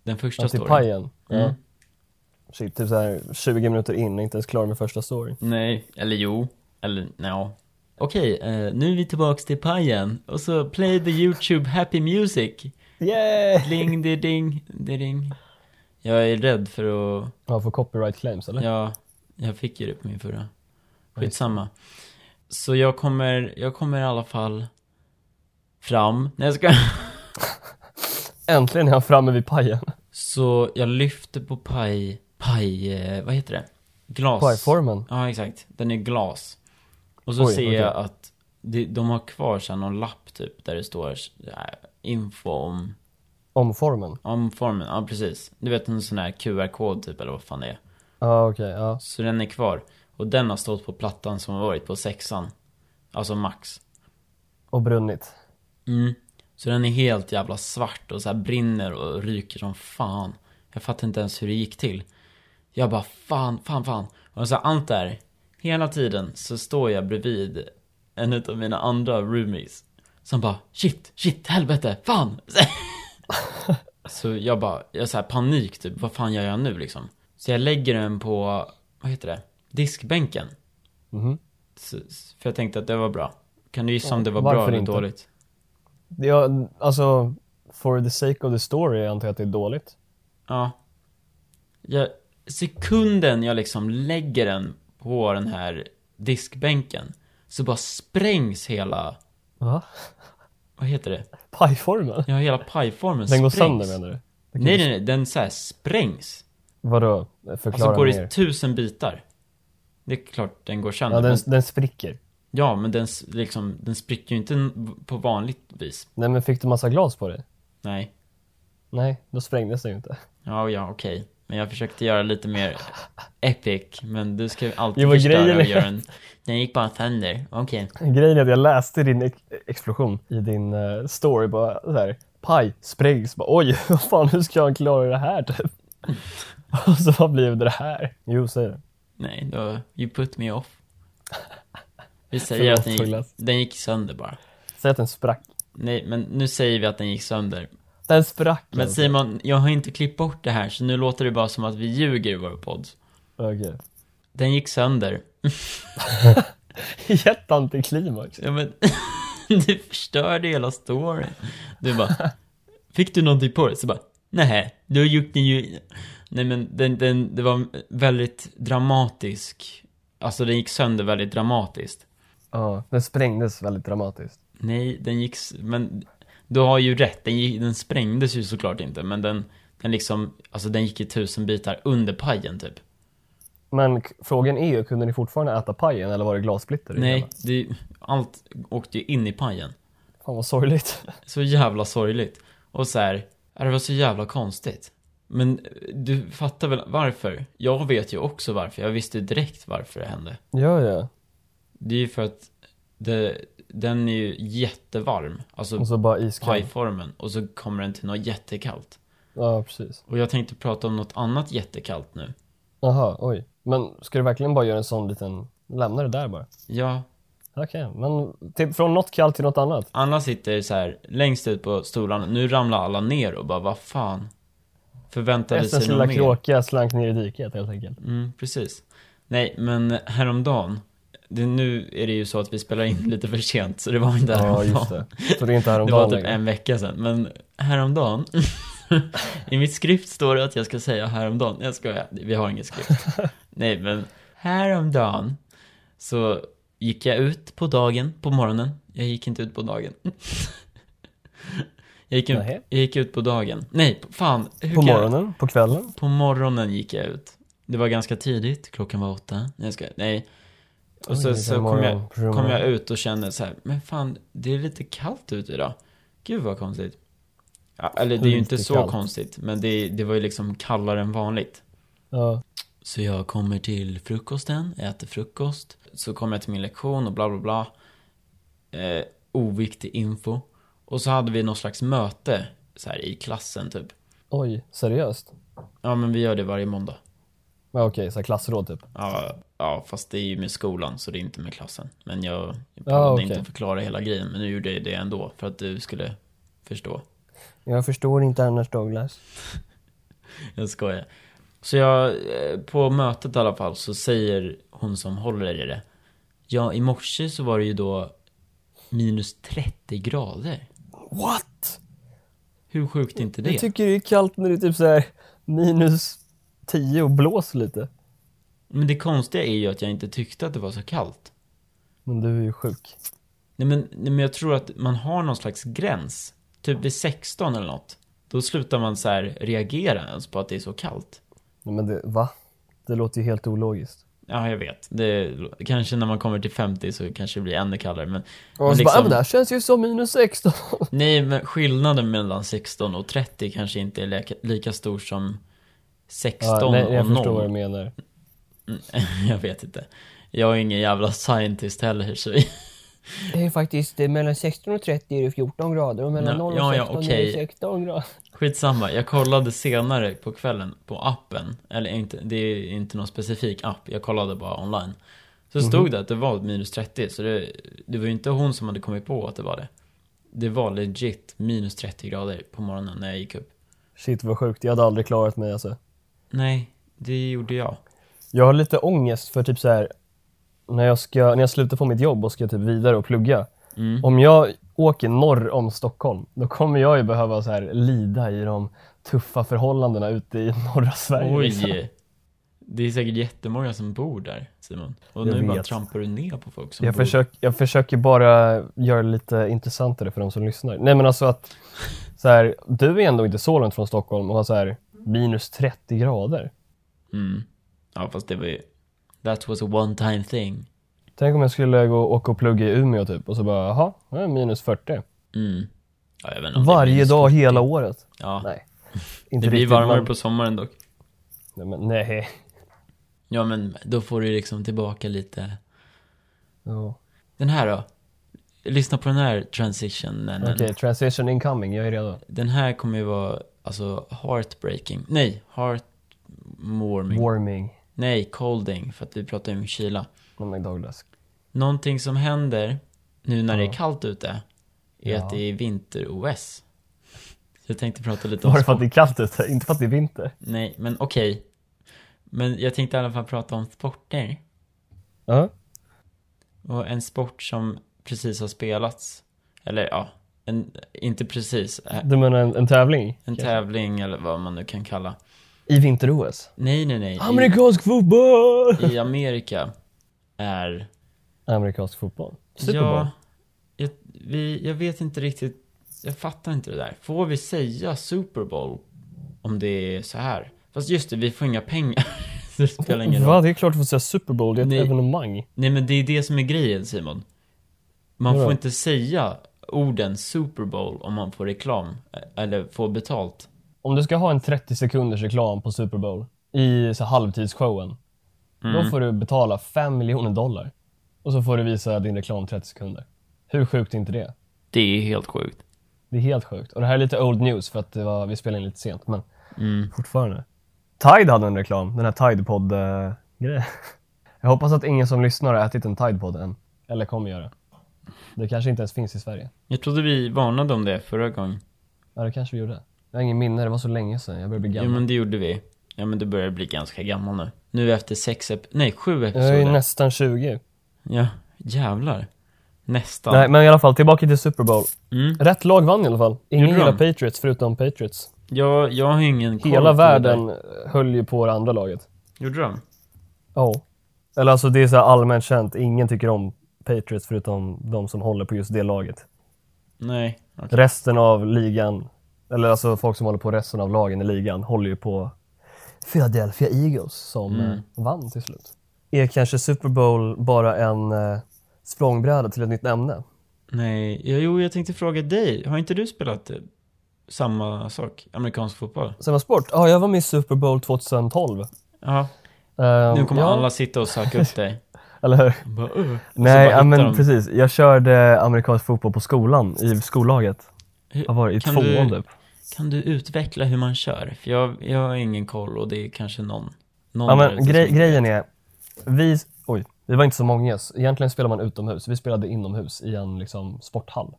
Speaker 1: den första
Speaker 2: Ja, till
Speaker 1: storyn.
Speaker 2: Typ pajen.
Speaker 1: Mm.
Speaker 2: Ja. Shit, typ såhär 20 minuter in, inte ens klar med första storyn.
Speaker 1: Nej, eller jo, eller no. Okej, eh, nu är vi tillbaks till pajen. Och så play the YouTube happy music.
Speaker 2: Yeah!
Speaker 1: Ding, di, ding, di, ding. Jag är rädd för att...
Speaker 2: Ja, för copyright claims eller?
Speaker 1: Ja, jag fick ju det på min förra. Skitsamma. Så jag kommer, jag kommer i alla fall fram. Nej, jag ska...
Speaker 2: Äntligen är han framme vid pajen.
Speaker 1: Så jag lyfter på paj... Paj... eh, Vad heter det? Glas.
Speaker 2: Pajformen.
Speaker 1: Ja, exakt. Den är glas. Och så
Speaker 2: Oj,
Speaker 1: ser
Speaker 2: okej.
Speaker 1: jag att det, de har kvar sen någon lapp typ där det står eh, info om,
Speaker 2: Om formen.
Speaker 1: om formen. Ja, precis. Du vet en sån här QR-kod typ eller vad fan det är.
Speaker 2: Ja, okej. ja.
Speaker 1: Så den är kvar. Och den har stått på plattan som har varit på sexan. Alltså max.
Speaker 2: Och brunnit.
Speaker 1: Mm. Så den är helt jävla svart och så här brinner och ryker som fan. Jag fattar inte ens hur det gick till. Jag bara fan, fan, fan. Och så här, allt där, hela tiden så står jag bredvid en utav mina andra roomies. Som bara shit, shit, helvete, fan. så jag bara, jag så här panik typ, vad fan gör jag nu liksom? Så jag lägger den på, vad heter det, diskbänken.
Speaker 2: Mhm.
Speaker 1: Så, för jag tänkte att det var bra. Kan du gissa om det var bra
Speaker 2: Varför
Speaker 1: eller
Speaker 2: inte?
Speaker 1: dåligt?
Speaker 2: Ja, alltså, for the sake of the story antar jag att det är dåligt.
Speaker 1: Ja. Jag, sekunden jag liksom lägger den på den här diskbänken så bara sprängs hela,
Speaker 2: Va?
Speaker 1: vad heter det?
Speaker 2: Pajformen?
Speaker 1: Ja, hela pajformen
Speaker 2: Den går
Speaker 1: sprängs.
Speaker 2: sönder menar du? Den kan
Speaker 1: Nej,
Speaker 2: ju-
Speaker 1: nej, nej, den så här sprängs.
Speaker 2: Vadå?
Speaker 1: Alltså
Speaker 2: Förklara
Speaker 1: går i
Speaker 2: mer.
Speaker 1: tusen bitar. Det är klart den går sönder.
Speaker 2: Ja, den,
Speaker 1: men,
Speaker 2: den spricker.
Speaker 1: ja, men den, s- liksom, den spricker ju inte n- på vanligt vis.
Speaker 2: Nej men fick du massa glas på dig?
Speaker 1: Nej.
Speaker 2: Nej, då sprängdes den ju inte.
Speaker 1: Ja, ja, okej. Men jag försökte göra lite mer epic, men du ska ju alltid
Speaker 2: Jo, men
Speaker 1: förstöra
Speaker 2: grejen
Speaker 1: och
Speaker 2: är-
Speaker 1: göra en... Den gick bara sönder. Okej.
Speaker 2: Grejen är att jag läste din ex- explosion i din eh, story bara så här. Paj, sprängs, bara oj, vad fan hur ska han klara det här typ? Och så vad blev det här? Jo, säg det.
Speaker 1: Nej, då, you put me off. Vi säger att den
Speaker 2: Förlåt,
Speaker 1: gick,
Speaker 2: Douglas.
Speaker 1: den gick sönder bara.
Speaker 2: Säg att den sprack.
Speaker 1: Nej, men nu säger vi att den gick sönder.
Speaker 2: Den sprack
Speaker 1: Men
Speaker 2: alltså.
Speaker 1: Simon, jag har inte klippt bort det här, så nu låter det bara som att vi ljuger i vår podd.
Speaker 2: Okej.
Speaker 1: Den gick sönder.
Speaker 2: Jätteantiklimax.
Speaker 1: Ja, men, du förstörde hela storyn. Du bara, fick du någonting på det? Så bara, nej, då gick den ju... Nej men, den, den, det var väldigt dramatisk. Alltså den gick sönder väldigt dramatiskt.
Speaker 2: Ja, den sprängdes väldigt dramatiskt.
Speaker 1: Nej, den gick... s- Men du har ju rätt, den, gick, den sprängdes ju såklart inte, men den, den liksom... Alltså den gick i tusen bitar under pajen typ.
Speaker 2: Men k- frågan är ju, kunde ni fortfarande äta pajen eller var det glassplitter i
Speaker 1: Nej,
Speaker 2: hela?
Speaker 1: det, allt åkte ju in i pajen.
Speaker 2: Fan vad sorgligt.
Speaker 1: Så jävla sorgligt. Och så här, ja, det var så jävla konstigt. Men eh, du fattar väl varför? Jag vet ju också varför, jag visste direkt varför det hände.
Speaker 2: Ja, ja.
Speaker 1: Det är ju för att det, den är ju jättevarm, alltså
Speaker 2: Och så bara iskall.
Speaker 1: pajformen, och så kommer den till något jättekallt.
Speaker 2: Ja, precis.
Speaker 1: Och jag tänkte prata om något annat jättekallt nu.
Speaker 2: Jaha, oj. Men ska du verkligen bara göra en sån liten... Lämna det där bara.
Speaker 1: Ja,
Speaker 2: Okej, men till, från något kallt till något annat.
Speaker 1: alla sitter så här längst ut på stolarna. Nu ramlar alla ner och bara, vad fan? Förväntade
Speaker 2: Hästens
Speaker 1: sig något
Speaker 2: lilla
Speaker 1: mer.
Speaker 2: kråka slank ner i diket helt enkelt.
Speaker 1: Mm, precis. Nej, men häromdagen. Det, nu är det ju så att vi spelar in lite för sent, så det var inte häromdagen.
Speaker 2: det. Så det är
Speaker 1: Det
Speaker 2: inte
Speaker 1: var
Speaker 2: häromdagen liksom.
Speaker 1: typ
Speaker 2: längre.
Speaker 1: en vecka sedan, men häromdagen. I mitt skrift står det att jag ska säga häromdagen. Jag skojar, vi har inget skrift. Nej, men häromdagen så gick jag ut på dagen, på morgonen. Jag gick inte ut på dagen. jag, gick ut,
Speaker 2: Nähä.
Speaker 1: jag gick ut på dagen. Nej, fan. Hur
Speaker 2: På
Speaker 1: kan jag-
Speaker 2: morgonen, på kvällen.
Speaker 1: På morgonen gick jag ut. Det var ganska tidigt, klockan var åtta. Nej, jag skojar. Nej. Och så,
Speaker 2: Oj,
Speaker 1: så
Speaker 2: vilken
Speaker 1: kom, jag,
Speaker 2: morgon, brummar.
Speaker 1: kom jag ut och kände så här, men fan, det är lite kallt ute idag. Gud vad konstigt. Ja, eller det är ju inte
Speaker 2: Lite
Speaker 1: så
Speaker 2: kallt.
Speaker 1: konstigt, men det, det var ju liksom kallare än vanligt.
Speaker 2: Ja.
Speaker 1: Så jag kommer till frukosten, äter frukost. Så kommer jag till min lektion och bla bla bla. Eh, oviktig info. Och så hade vi något slags möte så här i klassen typ.
Speaker 2: Oj, seriöst?
Speaker 1: Ja men vi gör det varje måndag.
Speaker 2: Ja, okej, så här klassråd typ.
Speaker 1: Ja, ja, fast det är ju med skolan så det är inte med klassen. Men jag jag
Speaker 2: Ja,
Speaker 1: behövde
Speaker 2: okej.
Speaker 1: inte förklara hela grejen, men nu gjorde jag det ändå för att du skulle förstå.
Speaker 2: Jag förstår inte annars Douglas.
Speaker 1: Jag skojar. Så jag, eh, på mötet i alla fall så säger hon som håller i det. Ja, i morse så var det ju då minus 30 grader.
Speaker 2: What?
Speaker 1: Hur sjukt är inte det?
Speaker 2: Du tycker det är kallt när det är typ så här minus 10 och blåser lite.
Speaker 1: Men det konstiga är ju att jag inte tyckte att det var så kallt.
Speaker 2: Men du är ju sjuk.
Speaker 1: Nej men, nej, men jag tror att man har någon slags gräns. Typ vid 16 eller något. Då slutar man så här reagera ens på att det är så kallt.
Speaker 2: Nej, men det, va? Det låter ju helt ologiskt.
Speaker 1: Ja, jag vet. Det, kanske när man kommer till 50 så kanske det blir ännu kallare. Men,
Speaker 2: Och så
Speaker 1: men liksom-
Speaker 2: bara, "Ja, men det här känns ju som minus 16.
Speaker 1: Nej, men skillnaden mellan 16 och 30 kanske inte är lika, lika stor som 16
Speaker 2: Ja, nej, jag
Speaker 1: och 0.
Speaker 2: förstår vad du menar.
Speaker 1: jag vet inte. Jag är ingen jävla scientist heller så...
Speaker 2: Det är faktiskt mellan 16 och 30 är det 14 grader och
Speaker 1: mellan Ja, 0 och ja, ja, 16 är det okej.
Speaker 2: 16 grader.
Speaker 1: Skitsamma, jag kollade senare på kvällen på appen. Eller inte, det är inte någon specifik app, jag kollade bara online. Så stod det att det var minus 30, så det, det var ju inte hon som hade kommit på att det var det. Det var legit minus 30 grader på morgonen när jag gick upp.
Speaker 2: Shit vad sjukt, jag hade aldrig klarat mig alltså.
Speaker 1: Nej, det gjorde jag.
Speaker 2: Jag har lite ångest för typ så här när jag, ska, när jag slutar på mitt jobb och ska typ vidare och plugga.
Speaker 1: Mm.
Speaker 2: Om jag åker norr om Stockholm, då kommer jag ju behöva så här lida i de tuffa förhållandena ute i norra Sverige. liksom.
Speaker 1: Oj! Det är säkert jättemånga som bor där, Simon. Och
Speaker 2: Jag
Speaker 1: nu bara
Speaker 2: vet.
Speaker 1: trampar du ner på folk som
Speaker 2: Jag,
Speaker 1: bor
Speaker 2: försök, jag försöker bara göra det lite intressantare för de som lyssnar. Nej men alltså att, så här, du är ändå inte så långt från Stockholm och har så här minus 30 grader.
Speaker 1: Mm. Ja, fast det var ju... That was a one time thing.
Speaker 2: Tänk om jag skulle gå och åka och plugga i Umeå typ och så bara, jaha, nu är det minus 40.
Speaker 1: Mm. Ja, jag vet inte om det
Speaker 2: Varje
Speaker 1: blir så-
Speaker 2: dag hela året.
Speaker 1: Ja.
Speaker 2: Nej. Inte
Speaker 1: Det blir
Speaker 2: riktigt,
Speaker 1: varmare
Speaker 2: men-
Speaker 1: på sommaren dock.
Speaker 2: Nej, men nej.
Speaker 1: Ja, men då får du ju liksom tillbaka lite...
Speaker 2: Ja.
Speaker 1: Den här då? Lyssna på den här transitionen.
Speaker 2: Okej, transition incoming. Jag är redo.
Speaker 1: Den här kommer ju vara, alltså, heartbreaking. Nej, heart... Warming.
Speaker 2: Warming. Oh
Speaker 1: Nej, colding, för att vi pratar ju om kyla.
Speaker 2: Nej, men Douglas.
Speaker 1: Någonting som händer nu när det är
Speaker 2: Ja.
Speaker 1: kallt ute är
Speaker 2: Ja.
Speaker 1: att det är vinter-OS. Så jag tänkte prata lite om
Speaker 2: Bara för att
Speaker 1: sport.
Speaker 2: det är kallt ute, inte för att det är vinter.
Speaker 1: Nej, men okej. Men jag tänkte i alla fall prata om sporter.
Speaker 2: Ja.
Speaker 1: Och en sport som precis har spelats. Eller ja, en, inte precis. eh,
Speaker 2: Du menar en, en tävling?
Speaker 1: En
Speaker 2: kanske?
Speaker 1: tävling eller vad man nu kan kalla.
Speaker 2: I vinter-OS?
Speaker 1: Nej, nej, nej.
Speaker 2: Amerikansk fotboll!
Speaker 1: I, i Amerika är...
Speaker 2: Amerikansk fotboll? Super Bowl?
Speaker 1: Ja, jag, vi, jag vet inte riktigt. Jag fattar inte det där. Får vi säga Super Bowl om det är så här? Fast just det, vi får inga pengar. så det spelar ingen roll.
Speaker 2: Va? Det är klart att få säga Super Bowl, det är ett
Speaker 1: Nej.
Speaker 2: evenemang.
Speaker 1: Nej men det är det som är grejen Simon. Man
Speaker 2: Vadå?
Speaker 1: får inte säga orden Super Bowl om man får reklam. eh, Eller får betalt.
Speaker 2: Om du ska ha en 30 sekunders reklam på Super Bowl i så här halvtidsshowen, då
Speaker 1: Mm.
Speaker 2: får du betala 5 miljoner dollar. Och så får du visa din reklam 30 sekunder. Hur sjukt är inte det?
Speaker 1: Det är helt sjukt.
Speaker 2: Det är helt sjukt. Och det här är lite old news för att det var, vi spelade in lite sent, men
Speaker 1: Mm.
Speaker 2: fortfarande. Tide hade en reklam, den här Tidepod-grejen. Jag hoppas att ingen som lyssnar har ätit en Tidepod än. Eller kommer göra. Det kanske inte ens finns i Sverige.
Speaker 1: Jag trodde vi varnade om det förra gången.
Speaker 2: Ja, det kanske vi gjorde. Jag har ingen minne, det var så länge sedan. Jag börjar bli
Speaker 1: Ja
Speaker 2: gammal.
Speaker 1: men det gjorde vi. Ja men du börjar bli ganska gammal nu. Nu efter sex, ep- nej sju
Speaker 2: jag är
Speaker 1: episoder.
Speaker 2: nästan 20.
Speaker 1: Ja, jävlar. Nästan.
Speaker 2: Nej, men i alla fall tillbaka till Super Bowl.
Speaker 1: Mm.
Speaker 2: Rätt lag vann i alla fall. Ingen
Speaker 1: Gjorde de?
Speaker 2: gillar Patriots förutom Patriots.
Speaker 1: Jag, jag har ingen koll på
Speaker 2: Hela
Speaker 1: det
Speaker 2: världen eh, höll ju på det andra laget.
Speaker 1: där. Gjorde de?
Speaker 2: Ja. Eller alltså det är så här allmänt känt, ingen tycker om Patriots förutom de som håller på just det laget.
Speaker 1: Nej. okej.
Speaker 2: Resten av ligan, eller alltså folk som håller på resten av lagen i ligan, håller ju på Philadelphia Eagles som
Speaker 1: Mm.
Speaker 2: eh, vann till slut. Är kanske Super Bowl bara en eh, språngbräda till ett nytt ämne?
Speaker 1: Nej. Ja, jo, jag tänkte fråga dig. Har inte du spelat eh, samma sak? Amerikansk fotboll?
Speaker 2: Samma sport? Ja, jag var med i Super Bowl 2012.
Speaker 1: Ja.
Speaker 2: Ehm,
Speaker 1: Nu kommer
Speaker 2: ja,
Speaker 1: alla sitta och söka upp dig.
Speaker 2: Eller hur?
Speaker 1: Bara, "Åh." Och så
Speaker 2: Nej,
Speaker 1: bara
Speaker 2: ja, men
Speaker 1: hittar de-
Speaker 2: precis. Jag körde amerikansk fotboll på skolan i skollaget.
Speaker 1: Hur-
Speaker 2: Jag var i
Speaker 1: kan
Speaker 2: tvåan
Speaker 1: du-
Speaker 2: typ.
Speaker 1: Kan du utveckla hur man kör? För jag, jag har ingen koll och det är kanske någon. någon
Speaker 2: Ja,
Speaker 1: där
Speaker 2: men
Speaker 1: ute som
Speaker 2: grej,
Speaker 1: inte
Speaker 2: grejen
Speaker 1: vet.
Speaker 2: är, vi, oj, vi var inte så många. så Egentligen spelar man utomhus. Vi spelade inomhus i en liksom, sporthall.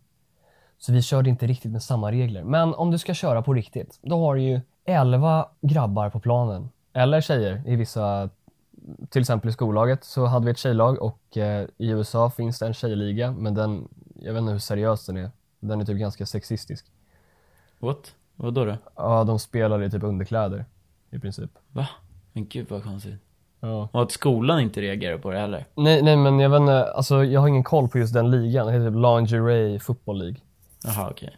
Speaker 2: Så vi körde inte riktigt med samma regler. Men om du ska köra på riktigt, då har du ju 11 grabbar på planen. Eller tjejer i vissa, till exempel i skollaget så hade vi ett tjejlag och eh, i USA finns det en tjejliga, men den, jag vet inte hur seriös den är. Den är typ ganska sexistisk.
Speaker 1: What? Vad då?
Speaker 2: Ja, de spelar i typ underkläder i princip.
Speaker 1: Va? Men gud vad konstigt.
Speaker 2: Ja.
Speaker 1: Och att skolan inte reagerar på det heller.
Speaker 2: Nej, nej, men jag vet inte, alltså jag har ingen koll på just den ligan. Det heter typ Lingerie Football League.
Speaker 1: Jaha, okej.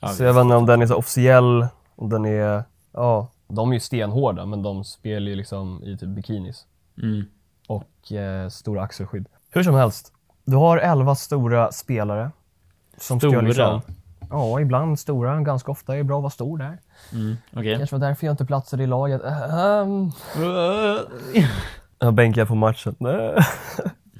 Speaker 1: Ja,
Speaker 2: Så jag vet inte om den är så officiell, om den är, ja, de är ju stenhårda men de spelar ju liksom i typ bikinis
Speaker 1: Mm.
Speaker 2: och eh, stora axelskydd. Hur som helst, du har elva stora spelare. Som ska
Speaker 1: Stora?
Speaker 2: liksom- Ja, ibland stora, ganska ofta är det bra att vara stor där.
Speaker 1: Mm. Okej.
Speaker 2: Kanske var därför jag inte platsade i laget. Ehm. Jag bänkar på matchen.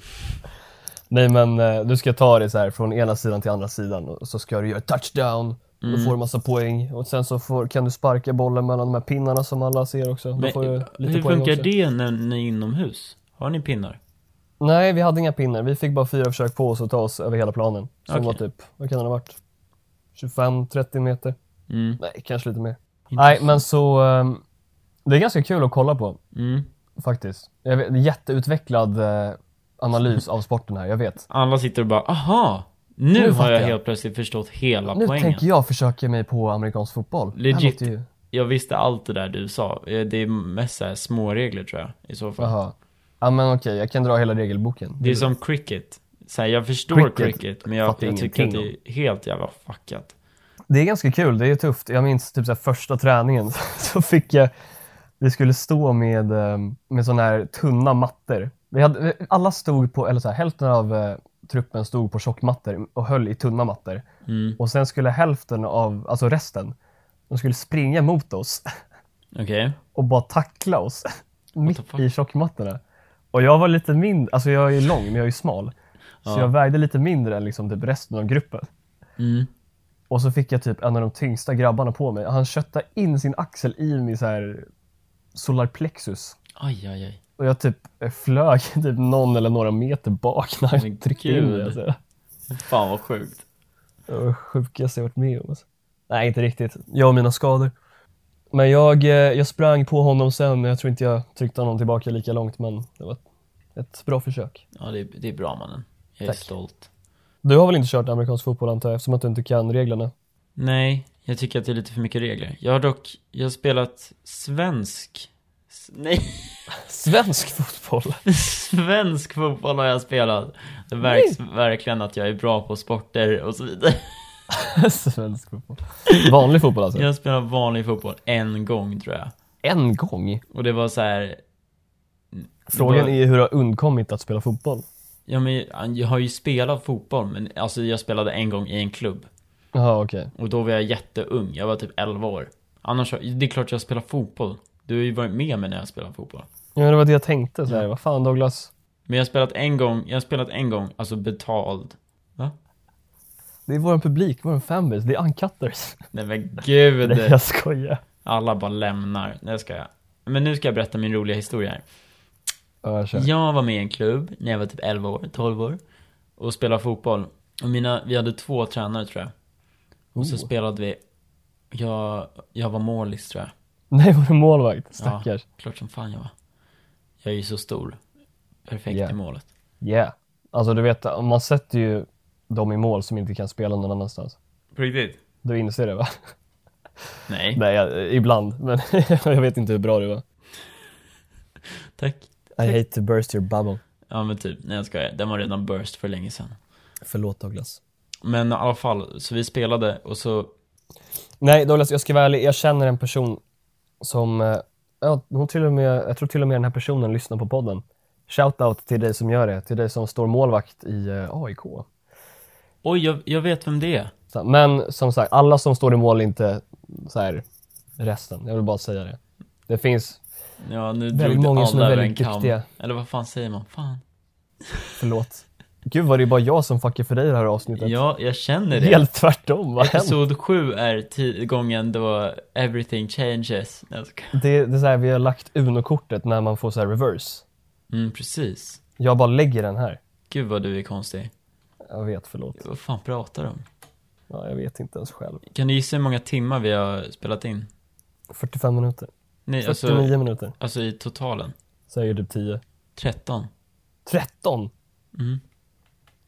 Speaker 2: Nej men eh, du ska ta det så här från ena sidan till andra sidan och så ska du göra touchdown. Då
Speaker 1: Mm.
Speaker 2: får du massa poäng och sen så får, kan du sparka bollen mellan de här pinnarna som alla ser också. Då
Speaker 1: Men
Speaker 2: får du lite
Speaker 1: hur
Speaker 2: poäng
Speaker 1: funkar
Speaker 2: också.
Speaker 1: det när ni är inomhus? Har ni pinnar?
Speaker 2: Nej, vi hade inga pinnar. Vi fick bara fyra försök på oss att ta oss över hela planen. Som
Speaker 1: Okej.
Speaker 2: var typ, vad kan den ha varit? 25-30 meter?
Speaker 1: Mm.
Speaker 2: Nej, kanske lite mer. Nej,
Speaker 1: Intressant.
Speaker 2: men så... eh, Det är ganska kul att kolla på.
Speaker 1: Mm.
Speaker 2: Faktiskt. Jag vet, jätteutvecklad eh, analys av sporten här, jag vet.
Speaker 1: Alla sitter och bara, aha! Nu,
Speaker 2: Nu
Speaker 1: har
Speaker 2: fattar
Speaker 1: jag
Speaker 2: jag."
Speaker 1: helt plötsligt förstått hela
Speaker 2: Nu
Speaker 1: poängen.
Speaker 2: tänker jag försöka mig på amerikansk fotboll. Det här
Speaker 1: Legit.
Speaker 2: låter Ju...
Speaker 1: Jag visste allt det där du sa. Eh, Det är mest så här små regler tror jag, i så fall.
Speaker 2: Jaha. Ja men okej, jag kan dra hela regelboken.
Speaker 1: Det är som cricket. Så här, jag förstår cricket,
Speaker 2: Cricket
Speaker 1: men jag,
Speaker 2: fattar
Speaker 1: jag tycker att
Speaker 2: ingenting
Speaker 1: det är helt jävla fuckat.
Speaker 2: Det är ganska kul, det är tufft. Jag minns typ så här första träningen så fick jag, vi skulle stå med, eh, med sådana här tunna mattor. Vi hade, alla stod på, eller så här, hälften av eh, truppen stod på tjockmattor och höll i tunna mattor.
Speaker 1: Mm.
Speaker 2: Och sen skulle hälften av, alltså resten, de skulle springa mot oss.
Speaker 1: Okej.
Speaker 2: och bara tackla oss
Speaker 1: the
Speaker 2: mitt
Speaker 1: fuck?
Speaker 2: i tjockmattorna. Och jag var lite mindre, alltså jag är lång men jag är ju smal.
Speaker 1: Ja.
Speaker 2: Så jag vägde lite mindre än liksom typ resten av gruppen.
Speaker 1: Mm.
Speaker 2: Och så fick jag typ en av de tyngsta grabbarna på mig. Han köttade in sin axel i min så här solarplexus.
Speaker 1: Aj, aj, aj.
Speaker 2: Och jag typ flög typ någon eller några meter bak när
Speaker 1: Men
Speaker 2: han tryckte in
Speaker 1: gud.
Speaker 2: mig. Alltså.
Speaker 1: Fan vad sjukt.
Speaker 2: Det var det sjukaste jag varit med om. Alltså. Nej, inte riktigt. Jag och mina skador. Men jag, eh, jag sprang på honom sen. Jag tror inte jag tryckte honom tillbaka lika långt, men det var ett, ett bra försök.
Speaker 1: Ja, det är, det är bra mannen. Jag är
Speaker 2: Tack.
Speaker 1: stolt.
Speaker 2: Du har väl inte kört amerikansk fotboll antar jag, eftersom att du inte kan reglerna?
Speaker 1: Nej, jag tycker att det är lite för mycket regler. Jag har dock, jag har spelat svensk... s- Nej,
Speaker 2: Svensk fotboll?
Speaker 1: svensk fotboll har jag spelat. Det märks verkligen att jag är bra på sporter och så vidare.
Speaker 2: Svensk fotboll. Vanlig fotboll alltså?
Speaker 1: Jag har spelat vanlig fotboll en gång tror jag.
Speaker 2: En gång?
Speaker 1: Och det var så här.
Speaker 2: Frågan
Speaker 1: var-
Speaker 2: är hur du har undkommit att spela fotboll.
Speaker 1: ja men jag har ju spelat fotboll men alltså jag spelade en gång i en klubb.
Speaker 2: Jaha, okej.
Speaker 1: Och då var jag jätteung, jag var typ 11 år. Annars, det är klart jag spelar fotboll. Du har ju varit med mig när jag spelar fotboll.
Speaker 2: Ja, det var det jag tänkte. Så här. Vad fan Douglas?
Speaker 1: Men jag har spelat en gång, jag har spelat en gång, alltså betald. Va?
Speaker 2: Det är vår publik, vår fanbase. Det är uncutters.
Speaker 1: Nej men
Speaker 2: Nej,
Speaker 1: gud.
Speaker 2: jag skojar.
Speaker 1: Alla bara lämnar. Nej ska jag. Men nu ska jag berätta min roliga historia här.
Speaker 2: Ja, jag kör.
Speaker 1: Jag var med i en klubb när jag var typ 11 år, 12 år. Och spelade fotboll. Och mina, vi hade två tränare tror jag. Och så
Speaker 2: Oh.
Speaker 1: spelade vi, jag, jag var målis tror jag.
Speaker 2: Nej, var du målvakt? Stackars.
Speaker 1: Klart som fan jag var. Jag är ju så stor. Perfekt
Speaker 2: Yeah.
Speaker 1: i målet.
Speaker 2: Yeah. Alltså du vet, man sätter ju dem i mål som inte kan spela någon annanstans.
Speaker 1: På riktigt?
Speaker 2: Du inser det va?
Speaker 1: Nej.
Speaker 2: Nej, jag, ibland. Men jag vet inte hur bra du var.
Speaker 1: Tack.
Speaker 2: I hate to burst your bubble.
Speaker 1: Ja men typ, nej jag skojar. Den var redan burst för länge sedan.
Speaker 2: Förlåt Douglas.
Speaker 1: Men i alla fall, så vi spelade och så,
Speaker 2: Nej Douglas, jag ska vara ärlig. Jag känner en person som, eh, ja, hon till och med, jag tror till och med den här personen lyssnar på podden. Shoutout till dig som gör det, till dig som står målvakt i eh, AIK.
Speaker 1: oj jag, jag vet vem det är.
Speaker 2: Så, men som sagt, alla som står i mål är inte så här resten. Jag vill bara säga det. Det finns,
Speaker 1: Ja nu
Speaker 2: Väldigt
Speaker 1: drog du
Speaker 2: många som är
Speaker 1: alla över en
Speaker 2: väldigt
Speaker 1: kam.
Speaker 2: duktiga.
Speaker 1: Eller vad fan säger man? Fan.
Speaker 2: Förlåt. Gud vad det är bara jag som fuckar för dig i det här avsnittet.
Speaker 1: Ja, jag känner det.
Speaker 2: Helt tvärtom, vad hemskt.
Speaker 1: Episod 7 är ti- gången då everything changes. Nej, jag skojar.
Speaker 2: Det, det är så här, vi har lagt Uno-kortet när man får så här reverse.
Speaker 1: Mm, precis.
Speaker 2: Jag bara lägger den här.
Speaker 1: Gud vad du är konstig.
Speaker 2: Jag vet, förlåt.
Speaker 1: Vad fan pratar du om?
Speaker 2: Ja, jag vet inte ens själv.
Speaker 1: Kan du gissa hur många timmar vi har spelat in?
Speaker 2: 45 minuter.
Speaker 1: Nej,
Speaker 2: 49
Speaker 1: alltså,
Speaker 2: minuter.
Speaker 1: alltså i totalen.
Speaker 2: Så jag gjorde typ 10.
Speaker 1: 13.
Speaker 2: 13!
Speaker 1: Mm.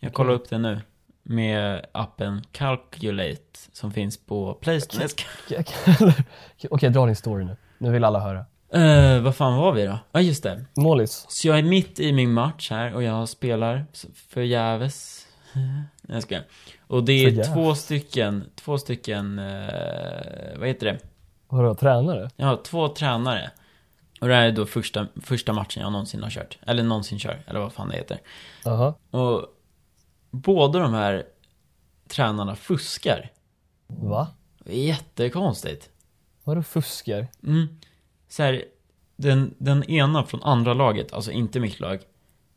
Speaker 1: Jag kollar upp det nu. Med appen Calculate som finns på Playstation. Jag ska-
Speaker 2: Okej, dra din story nu. Nu vill alla höra.
Speaker 1: Eh, vad fan var vi då? Ja, just det.
Speaker 2: Målis.
Speaker 1: Så jag är mitt i min match här och jag spelar s- förgäves. Nej, jag skojar. Och det är
Speaker 2: Förgäves.
Speaker 1: två stycken, två stycken, eh, vad heter det?
Speaker 2: Vadå, tränare?
Speaker 1: Jag har två tränare. Och det här är då första, första matchen jag någonsin har kört. Eller någonsin kör, eller vad fan det heter.
Speaker 2: Jaha.
Speaker 1: Och båda de här tränarna fuskar.
Speaker 2: Va?
Speaker 1: Det är Jättekonstigt.
Speaker 2: Vadå fuskar?
Speaker 1: Mm. Så här, den, den ena från andra laget, alltså inte mitt lag.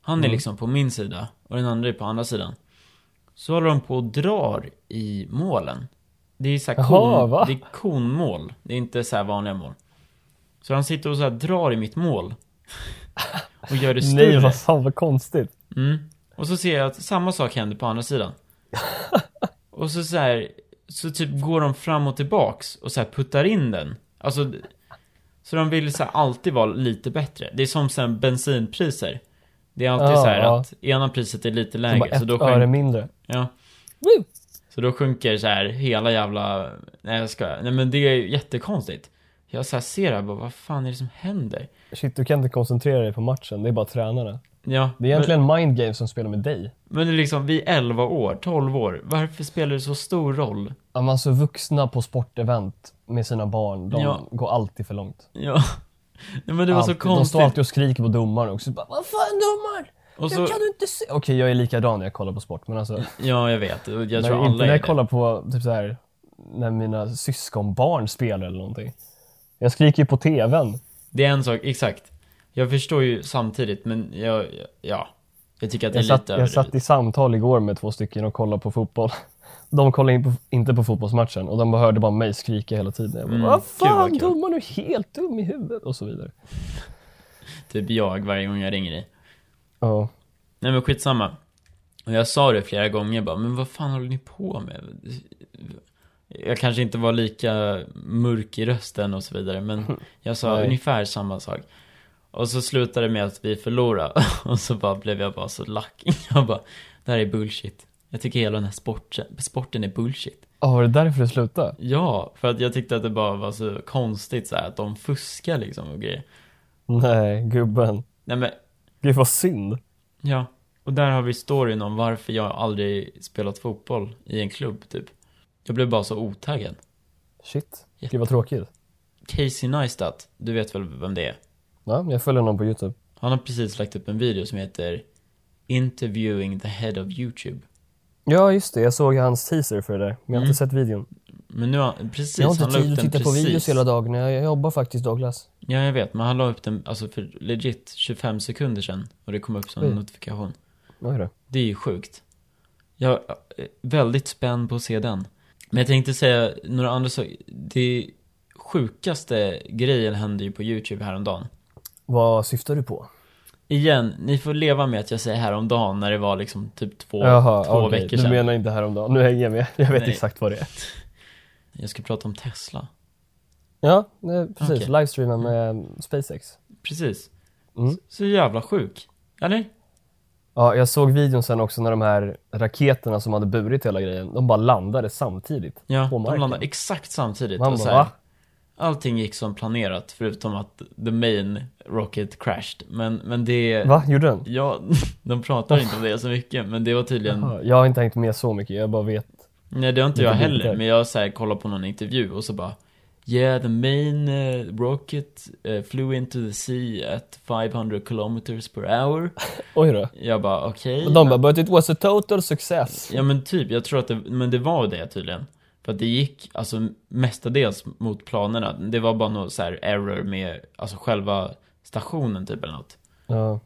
Speaker 1: Han är
Speaker 2: Mm.
Speaker 1: liksom på min sida och den andra är på andra sidan. Så håller de på och drar i målen. Det är så här
Speaker 2: Jaha,
Speaker 1: kon,
Speaker 2: va?
Speaker 1: det är konmål. Det är inte så här vanliga mål. Så han sitter och så här drar i mitt mål. Och gör det större.
Speaker 2: Nej, vad fan vad konstigt.
Speaker 1: Mm. Och så ser jag att samma sak händer på andra sidan. och så så här, så typ går de fram och tillbaks och så här puttar in den. Alltså, d- så de vill så här alltid vara lite bättre. Det är som sen bensinpriser. Det är alltid
Speaker 2: Ja,
Speaker 1: så här
Speaker 2: ja.
Speaker 1: att ena priset är lite
Speaker 2: Så bara
Speaker 1: lägre, så,
Speaker 2: ett
Speaker 1: då
Speaker 2: öre
Speaker 1: sjunker,
Speaker 2: mindre.
Speaker 1: ja,
Speaker 2: Woo!
Speaker 1: så då sjunker så här hela jävla, nej jag ska, nej men det är ju jättekonstigt. Jag så här ser det här, bara, vad fan är det som händer?
Speaker 2: Shit, du kan inte koncentrera dig på matchen. Det är bara tränarna.
Speaker 1: Ja,
Speaker 2: Det är egentligen mind games som spelar med dig.
Speaker 1: men, men det är liksom, vi är 11 år, 12 år, varför spelar det så stor roll?
Speaker 2: Ja, men Alltså vuxna på sportevent med sina barn, de
Speaker 1: Ja.
Speaker 2: går alltid för långt.
Speaker 1: Ja. Nej, men det var så
Speaker 2: alltid. De står
Speaker 1: konstigt.
Speaker 2: alltid och skriker på domaren också. Bara, Vad fan domar?
Speaker 1: och
Speaker 2: Jag
Speaker 1: så,
Speaker 2: kan du inte se? Okej, jag är likadan när jag kollar på sport, men alltså.
Speaker 1: ja, jag vet. Jag
Speaker 2: när,
Speaker 1: tror
Speaker 2: inte
Speaker 1: alla
Speaker 2: när
Speaker 1: är
Speaker 2: jag
Speaker 1: det.
Speaker 2: kollar på typ så här, när mina syskonbarn spelar eller någonting. Jag skriker ju på tvn.
Speaker 1: Det är en sak, exakt. Jag förstår ju samtidigt, men jag, ja. Jag tycker att det är
Speaker 2: Jag satt,
Speaker 1: lite
Speaker 2: jag satt i samtal igår med två stycken och kollade på fotboll. De kollade in på, inte på fotbollsmatchen och de bara hörde bara mig skrika hela tiden. Jag bara,
Speaker 1: Mm,
Speaker 2: Vad
Speaker 1: kul, vad
Speaker 2: fan
Speaker 1: kul."
Speaker 2: domaren är helt dum i huvudet och så vidare.
Speaker 1: Typ jag varje gång jag ringer dig.
Speaker 2: Ja.
Speaker 1: Nej men skitsamma. Och jag sa det flera gånger bara, men vad fan håller ni på med? Jag kanske inte var lika mörk i rösten och så vidare, men jag sa
Speaker 2: Nej.
Speaker 1: ungefär samma sak. Och så slutade det med att vi förlorade, och så bara blev jag bara så lack. Jag bara, det här är bullshit. Jag tycker hela den här sporten, sporten är bullshit.
Speaker 2: Oh, var det därför du slutade?
Speaker 1: Ja, för att jag tyckte att det bara var så konstigt så här, att de fuskar liksom och grejer.
Speaker 2: Nej, gubben.
Speaker 1: Nej men,
Speaker 2: Gud vad synd.
Speaker 1: ja. Och där har vi storyn om varför jag aldrig spelat fotboll i en klubb, typ. Jag blev bara så otaggad.
Speaker 2: Shit.
Speaker 1: Jätte-
Speaker 2: Gud vad tråkigt.
Speaker 1: Casey Neistat, du vet väl vem det är?
Speaker 2: Ja, jag följer någon på Youtube.
Speaker 1: Han har precis lagt upp en video som heter Interviewing the head of YouTube.
Speaker 2: Ja, just det. Jag såg hans teaser för det där, men jag har
Speaker 1: Mm.
Speaker 2: inte sett videon.
Speaker 1: Men nu har han, precis,
Speaker 2: jag har
Speaker 1: han
Speaker 2: inte
Speaker 1: la
Speaker 2: tid
Speaker 1: upp
Speaker 2: att
Speaker 1: den
Speaker 2: titta på videos
Speaker 1: precis.
Speaker 2: hela dagen. Jag, jag jobbar faktiskt Douglas.
Speaker 1: Ja, jag vet, men han la upp den, alltså för legit 25 sekunder sedan. Och det kom upp som en
Speaker 2: Oj.
Speaker 1: notifikation.
Speaker 2: Oj då.
Speaker 1: Det är ju sjukt. Jag är väldigt spänd på att se den. Men jag tänkte säga några andra saker. Det sjukaste grejen hände ju på YouTube häromdagen.
Speaker 2: Vad syftar du på?
Speaker 1: Igen, ni får leva med att jag säger häromdagen när det var liksom typ två, två
Speaker 2: okej.
Speaker 1: veckor sedan.
Speaker 2: Du menar inte häromdagen. Nu hänger jag med. Jag vet
Speaker 1: Nej.
Speaker 2: exakt vad det är.
Speaker 1: Jag ska prata om Tesla.
Speaker 2: Ja, nej, precis.
Speaker 1: Okej.
Speaker 2: Livestreamen med eh, SpaceX.
Speaker 1: Precis.
Speaker 2: Mm.
Speaker 1: Så, så jävla sjuk. Eller?
Speaker 2: Ja, jag såg videon sen också när de här raketerna som hade burit hela grejen, de bara landade samtidigt.
Speaker 1: Ja,
Speaker 2: På
Speaker 1: de
Speaker 2: marken.
Speaker 1: landade exakt samtidigt.
Speaker 2: Man
Speaker 1: och så
Speaker 2: bara,
Speaker 1: här,
Speaker 2: va?
Speaker 1: allting gick som planerat förutom att the main rocket crashed. Men, men det...
Speaker 2: Va, gjorde den?
Speaker 1: Ja, de pratar inte om det så mycket, men det var tydligen...
Speaker 2: Jaha, Jag har inte hängt med så mycket, jag bara vet.
Speaker 1: Nej, det har inte
Speaker 2: Lite
Speaker 1: jag heller,
Speaker 2: bilder.
Speaker 1: men jag så här, kollade på någon intervju och så bara Yeah, the main eh, rocket eh, flew into the sea at 500 kilometers per hour.
Speaker 2: Oj då.
Speaker 1: Jag bara okej.
Speaker 2: Och de bara, but it was a total success.
Speaker 1: Ja men typ, jag tror att det, men det var det tydligen. För att det gick, alltså mestadels mot planerna. Det var bara någon så här error med, alltså själva stationen typ eller något.
Speaker 2: Ja.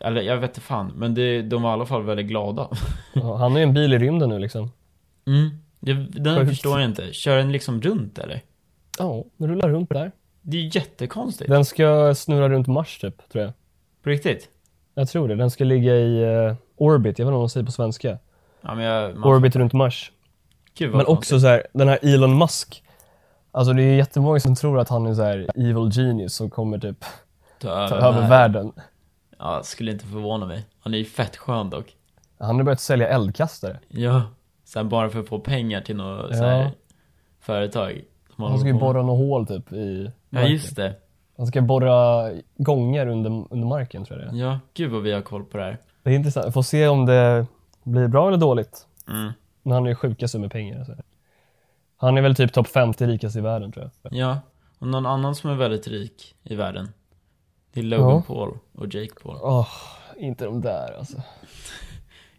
Speaker 1: Eller jag vet inte fan, men det, de var i alla fall väldigt glada.
Speaker 2: Ja, Han är ju en bil i rymden nu liksom.
Speaker 1: Mm. Jag, den
Speaker 2: Sjukt.
Speaker 1: förstår jag inte. Kör den liksom runt eller?
Speaker 2: Ja, den rullar runt där.
Speaker 1: Det är ju jättekonstigt.
Speaker 2: Den ska snurra runt Mars typ, tror jag.
Speaker 1: På riktigt?
Speaker 2: Jag tror det. Den ska ligga i eh, orbit, jag vet inte vad de säger på svenska.
Speaker 1: Ja men jag... Man,
Speaker 2: Orbit runt Mars.
Speaker 1: Gud, vad
Speaker 2: Men också så här, den här Elon Musk. Alltså det är jättemånga som tror att han är så här evil genius som kommer typ
Speaker 1: konstigt. ta över,
Speaker 2: ta
Speaker 1: den
Speaker 2: över
Speaker 1: här.
Speaker 2: världen.
Speaker 1: Ja, skulle inte förvåna mig. Han är ju fett skön dock.
Speaker 2: Han har börjat sälja eldkastare.
Speaker 1: Ja. Sen bara för att få pengar till något så
Speaker 2: Ja. Alltså,
Speaker 1: här företag. som
Speaker 2: Han
Speaker 1: håller
Speaker 2: ska ju
Speaker 1: på med.
Speaker 2: borra något hål typ i
Speaker 1: Ja,
Speaker 2: marken.
Speaker 1: just det.
Speaker 2: Han ska borra gånger under, under marken tror jag det är.
Speaker 1: Ja, gud vad vi har koll på det här.
Speaker 2: Det är intressant. Vi får se om det blir bra eller dåligt.
Speaker 1: Mm.
Speaker 2: Men han är ju sjukast med pengar. Alltså. Han är väl typ topp 50 rikast i världen tror jag.
Speaker 1: Ja, och någon annan som är väldigt rik i världen. Det är Logan
Speaker 2: Ja.
Speaker 1: Paul och Jake Paul.
Speaker 2: Åh, inte de där alltså.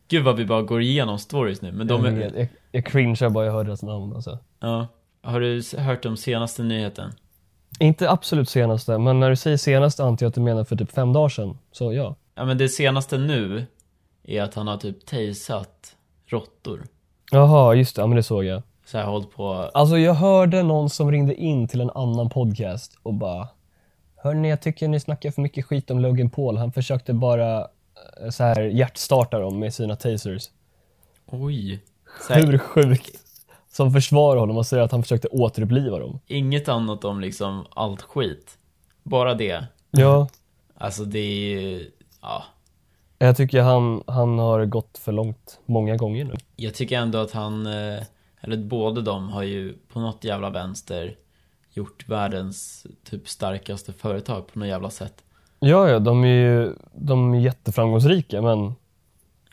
Speaker 1: Gud vad vi bara går igenom stories nu, men de
Speaker 2: jag,
Speaker 1: är...
Speaker 2: vet, jag, jag cringear bara jag hör deras namn alltså.
Speaker 1: Ja. Har du s- hört om senaste nyheten?
Speaker 2: Inte absolut senaste, men när du säger senaste antar jag att du menar för typ fem dagar sedan. Så ja.
Speaker 1: Ja men det senaste nu är att han har typ tasat råttor.
Speaker 2: Jaha, just det. Ja, men det såg jag.
Speaker 1: Så här hållit på...
Speaker 2: Alltså jag hörde någon som ringde in till en annan podcast och bara Hörni, jag tycker ni snackar för mycket skit om Logan Paul. Han försökte bara eh, så här hjärtstarta dem med sina tasers.
Speaker 1: Oj. Så här,
Speaker 2: Hur sjukt? Som försvarar honom och säger att han försökte återuppliva dem.
Speaker 1: inget annat om liksom allt skit. Bara det.
Speaker 2: Ja.
Speaker 1: Alltså det är ju... Ja.
Speaker 2: Jag tycker han, han har gått för långt många gånger nu.
Speaker 1: Jag tycker ändå att han, eh, eller båda de har ju på något jävla vänster gjort världens typ starkaste företag på något jävla sätt.
Speaker 2: Ja, ja, de är ju de är jätteframgångsrika, men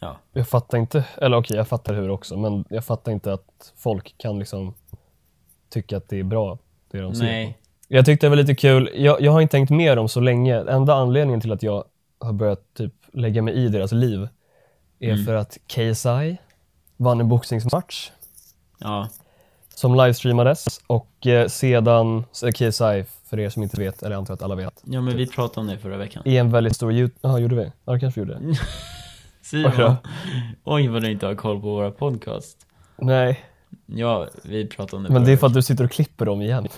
Speaker 1: Ja.
Speaker 2: jag fattar inte, eller okej, jag fattar hur också, men jag fattar inte att folk kan liksom tycka att det är bra, det de ser
Speaker 1: Nej.
Speaker 2: Jag tyckte det var lite kul. Jag, jag har inte tänkt med dem så länge. Enda anledningen till att jag har börjat typ lägga mig i deras liv är
Speaker 1: Mm.
Speaker 2: för att KSI vann en boxningsmatch
Speaker 1: Ja.
Speaker 2: som livestreamades och eh, sedan, så KSI för er som inte vet, eller jag antar att alla vet,
Speaker 1: Ja men vi pratade om det förra veckan.
Speaker 2: är en väldigt stor youtube... Ja, gjorde vi? Ja, det kanske vi gjorde.
Speaker 1: Simon.
Speaker 2: Oj då.
Speaker 1: Oj vad du inte har koll på våra podcast.
Speaker 2: Nej,
Speaker 1: Ja, vi pratade om det
Speaker 2: men
Speaker 1: förra
Speaker 2: det är
Speaker 1: veckan.
Speaker 2: för att du sitter och klipper dem igen.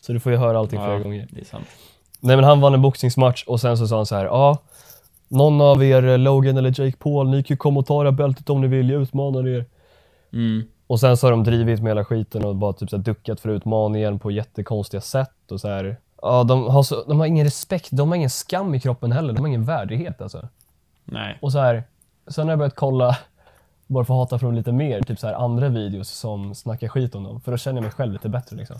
Speaker 2: Så du får ju höra allting flera
Speaker 1: ja,
Speaker 2: gånger.
Speaker 1: Det är sant.
Speaker 2: Nej men han vann en boxningsmatch och sen så sa han så här, ja, någon av er, eh, Logan eller Jake Paul, ni kan ju komma och ta det här bältet om ni vill, jag utmanar er.
Speaker 1: Mm.
Speaker 2: Och sen så har de drivit med hela skiten och bara typ så här duckat för utmaningen på jättekonstiga sätt och så här. Ja, de har, så, de har ingen respekt, de har ingen skam i kroppen heller, de har ingen värdighet alltså.
Speaker 1: Nej.
Speaker 2: Och så här, sen har jag börjat kolla, bara för att hata för dem lite mer, typ så här andra videos som snackar skit om dem, för då känner jag mig själv lite bättre liksom.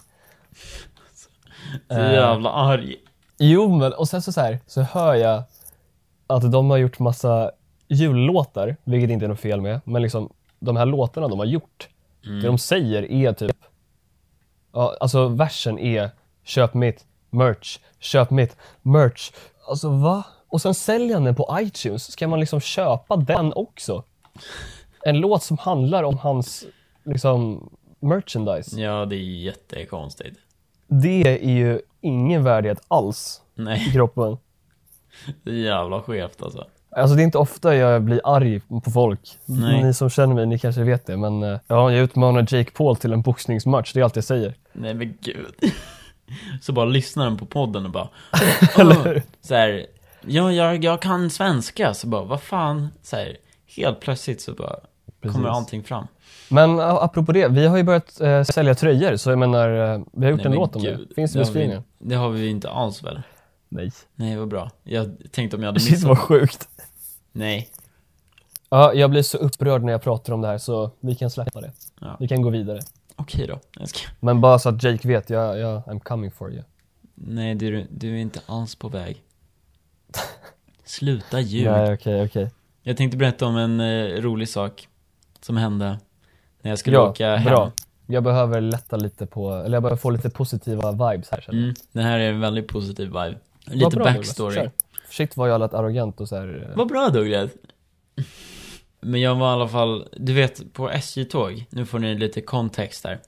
Speaker 1: Så
Speaker 2: Eh.
Speaker 1: jävla arg.
Speaker 2: Jo, men och sen så, så, här, så hör jag att de har gjort massa jullåtar, vilket inte är något fel med, men liksom de här låtarna de har gjort, det de säger är typ, ja, alltså versen är köp mitt merch, köp mitt merch. Alltså va? Och sen säljer han den på iTunes, ska man liksom köpa den också? En låt som handlar om hans liksom merchandise.
Speaker 1: Ja, det är jättekonstigt.
Speaker 2: Det är ju ingen värdighet alls i
Speaker 1: Nej,
Speaker 2: kroppen.
Speaker 1: det är jävla skevt alltså.
Speaker 2: Alltså det är inte ofta jag blir arg på folk.
Speaker 1: Nej.
Speaker 2: Ni som känner mig, ni kanske vet det. Men eh, ja, jag utmanar Jake Paul till en boxningsmatch, det är allt jag säger.
Speaker 1: Nej men gud. Så bara lyssnar den på podden och bara
Speaker 2: Eller hur?
Speaker 1: så här, ja, jag, jag kan svenska, så bara, vad fan, så här, helt plötsligt så bara
Speaker 2: Precis.
Speaker 1: kommer allting fram.
Speaker 2: Men eh, apropå det, vi har ju börjat eh, sälja tröjor, så jag menar, eh, vi har gjort
Speaker 1: Nej,
Speaker 2: en
Speaker 1: men
Speaker 2: låt om
Speaker 1: gud,
Speaker 2: det. Finns det i
Speaker 1: har vi-
Speaker 2: beskrivningen?
Speaker 1: Det har vi inte alls väl?
Speaker 2: Nej.
Speaker 1: Nej, vad bra. Jag tänkte om jag hade
Speaker 2: Shit
Speaker 1: missat.
Speaker 2: vad sjukt.
Speaker 1: Nej.
Speaker 2: Ja, jag blir så upprörd när jag pratar om det här, så vi kan släppa det.
Speaker 1: Ja.
Speaker 2: Vi kan gå vidare.
Speaker 1: Okej då. Jag ska...
Speaker 2: Men bara så att Jake vet, jag, jag, I'm coming for you.
Speaker 1: Nej, du, du är inte alls på väg. Sluta ljug.
Speaker 2: Nej, okej, okej.
Speaker 1: Jag tänkte berätta om en eh, rolig sak som hände när jag skulle
Speaker 2: Ja,
Speaker 1: åka hem.
Speaker 2: bra. Jag behöver lätta lite på, eller jag behöver få lite positiva vibes här. känner jag.
Speaker 1: Mm, det här är en väldigt positiv vibe. Lite
Speaker 2: Vad bra, Douglas.
Speaker 1: backstory.
Speaker 2: Kör. Shit vad jag lät arrogant och så här. eh,
Speaker 1: Vad bra Douglas. Men jag var i alla fall, du vet på SJ-tåg, nu får ni lite kontext här.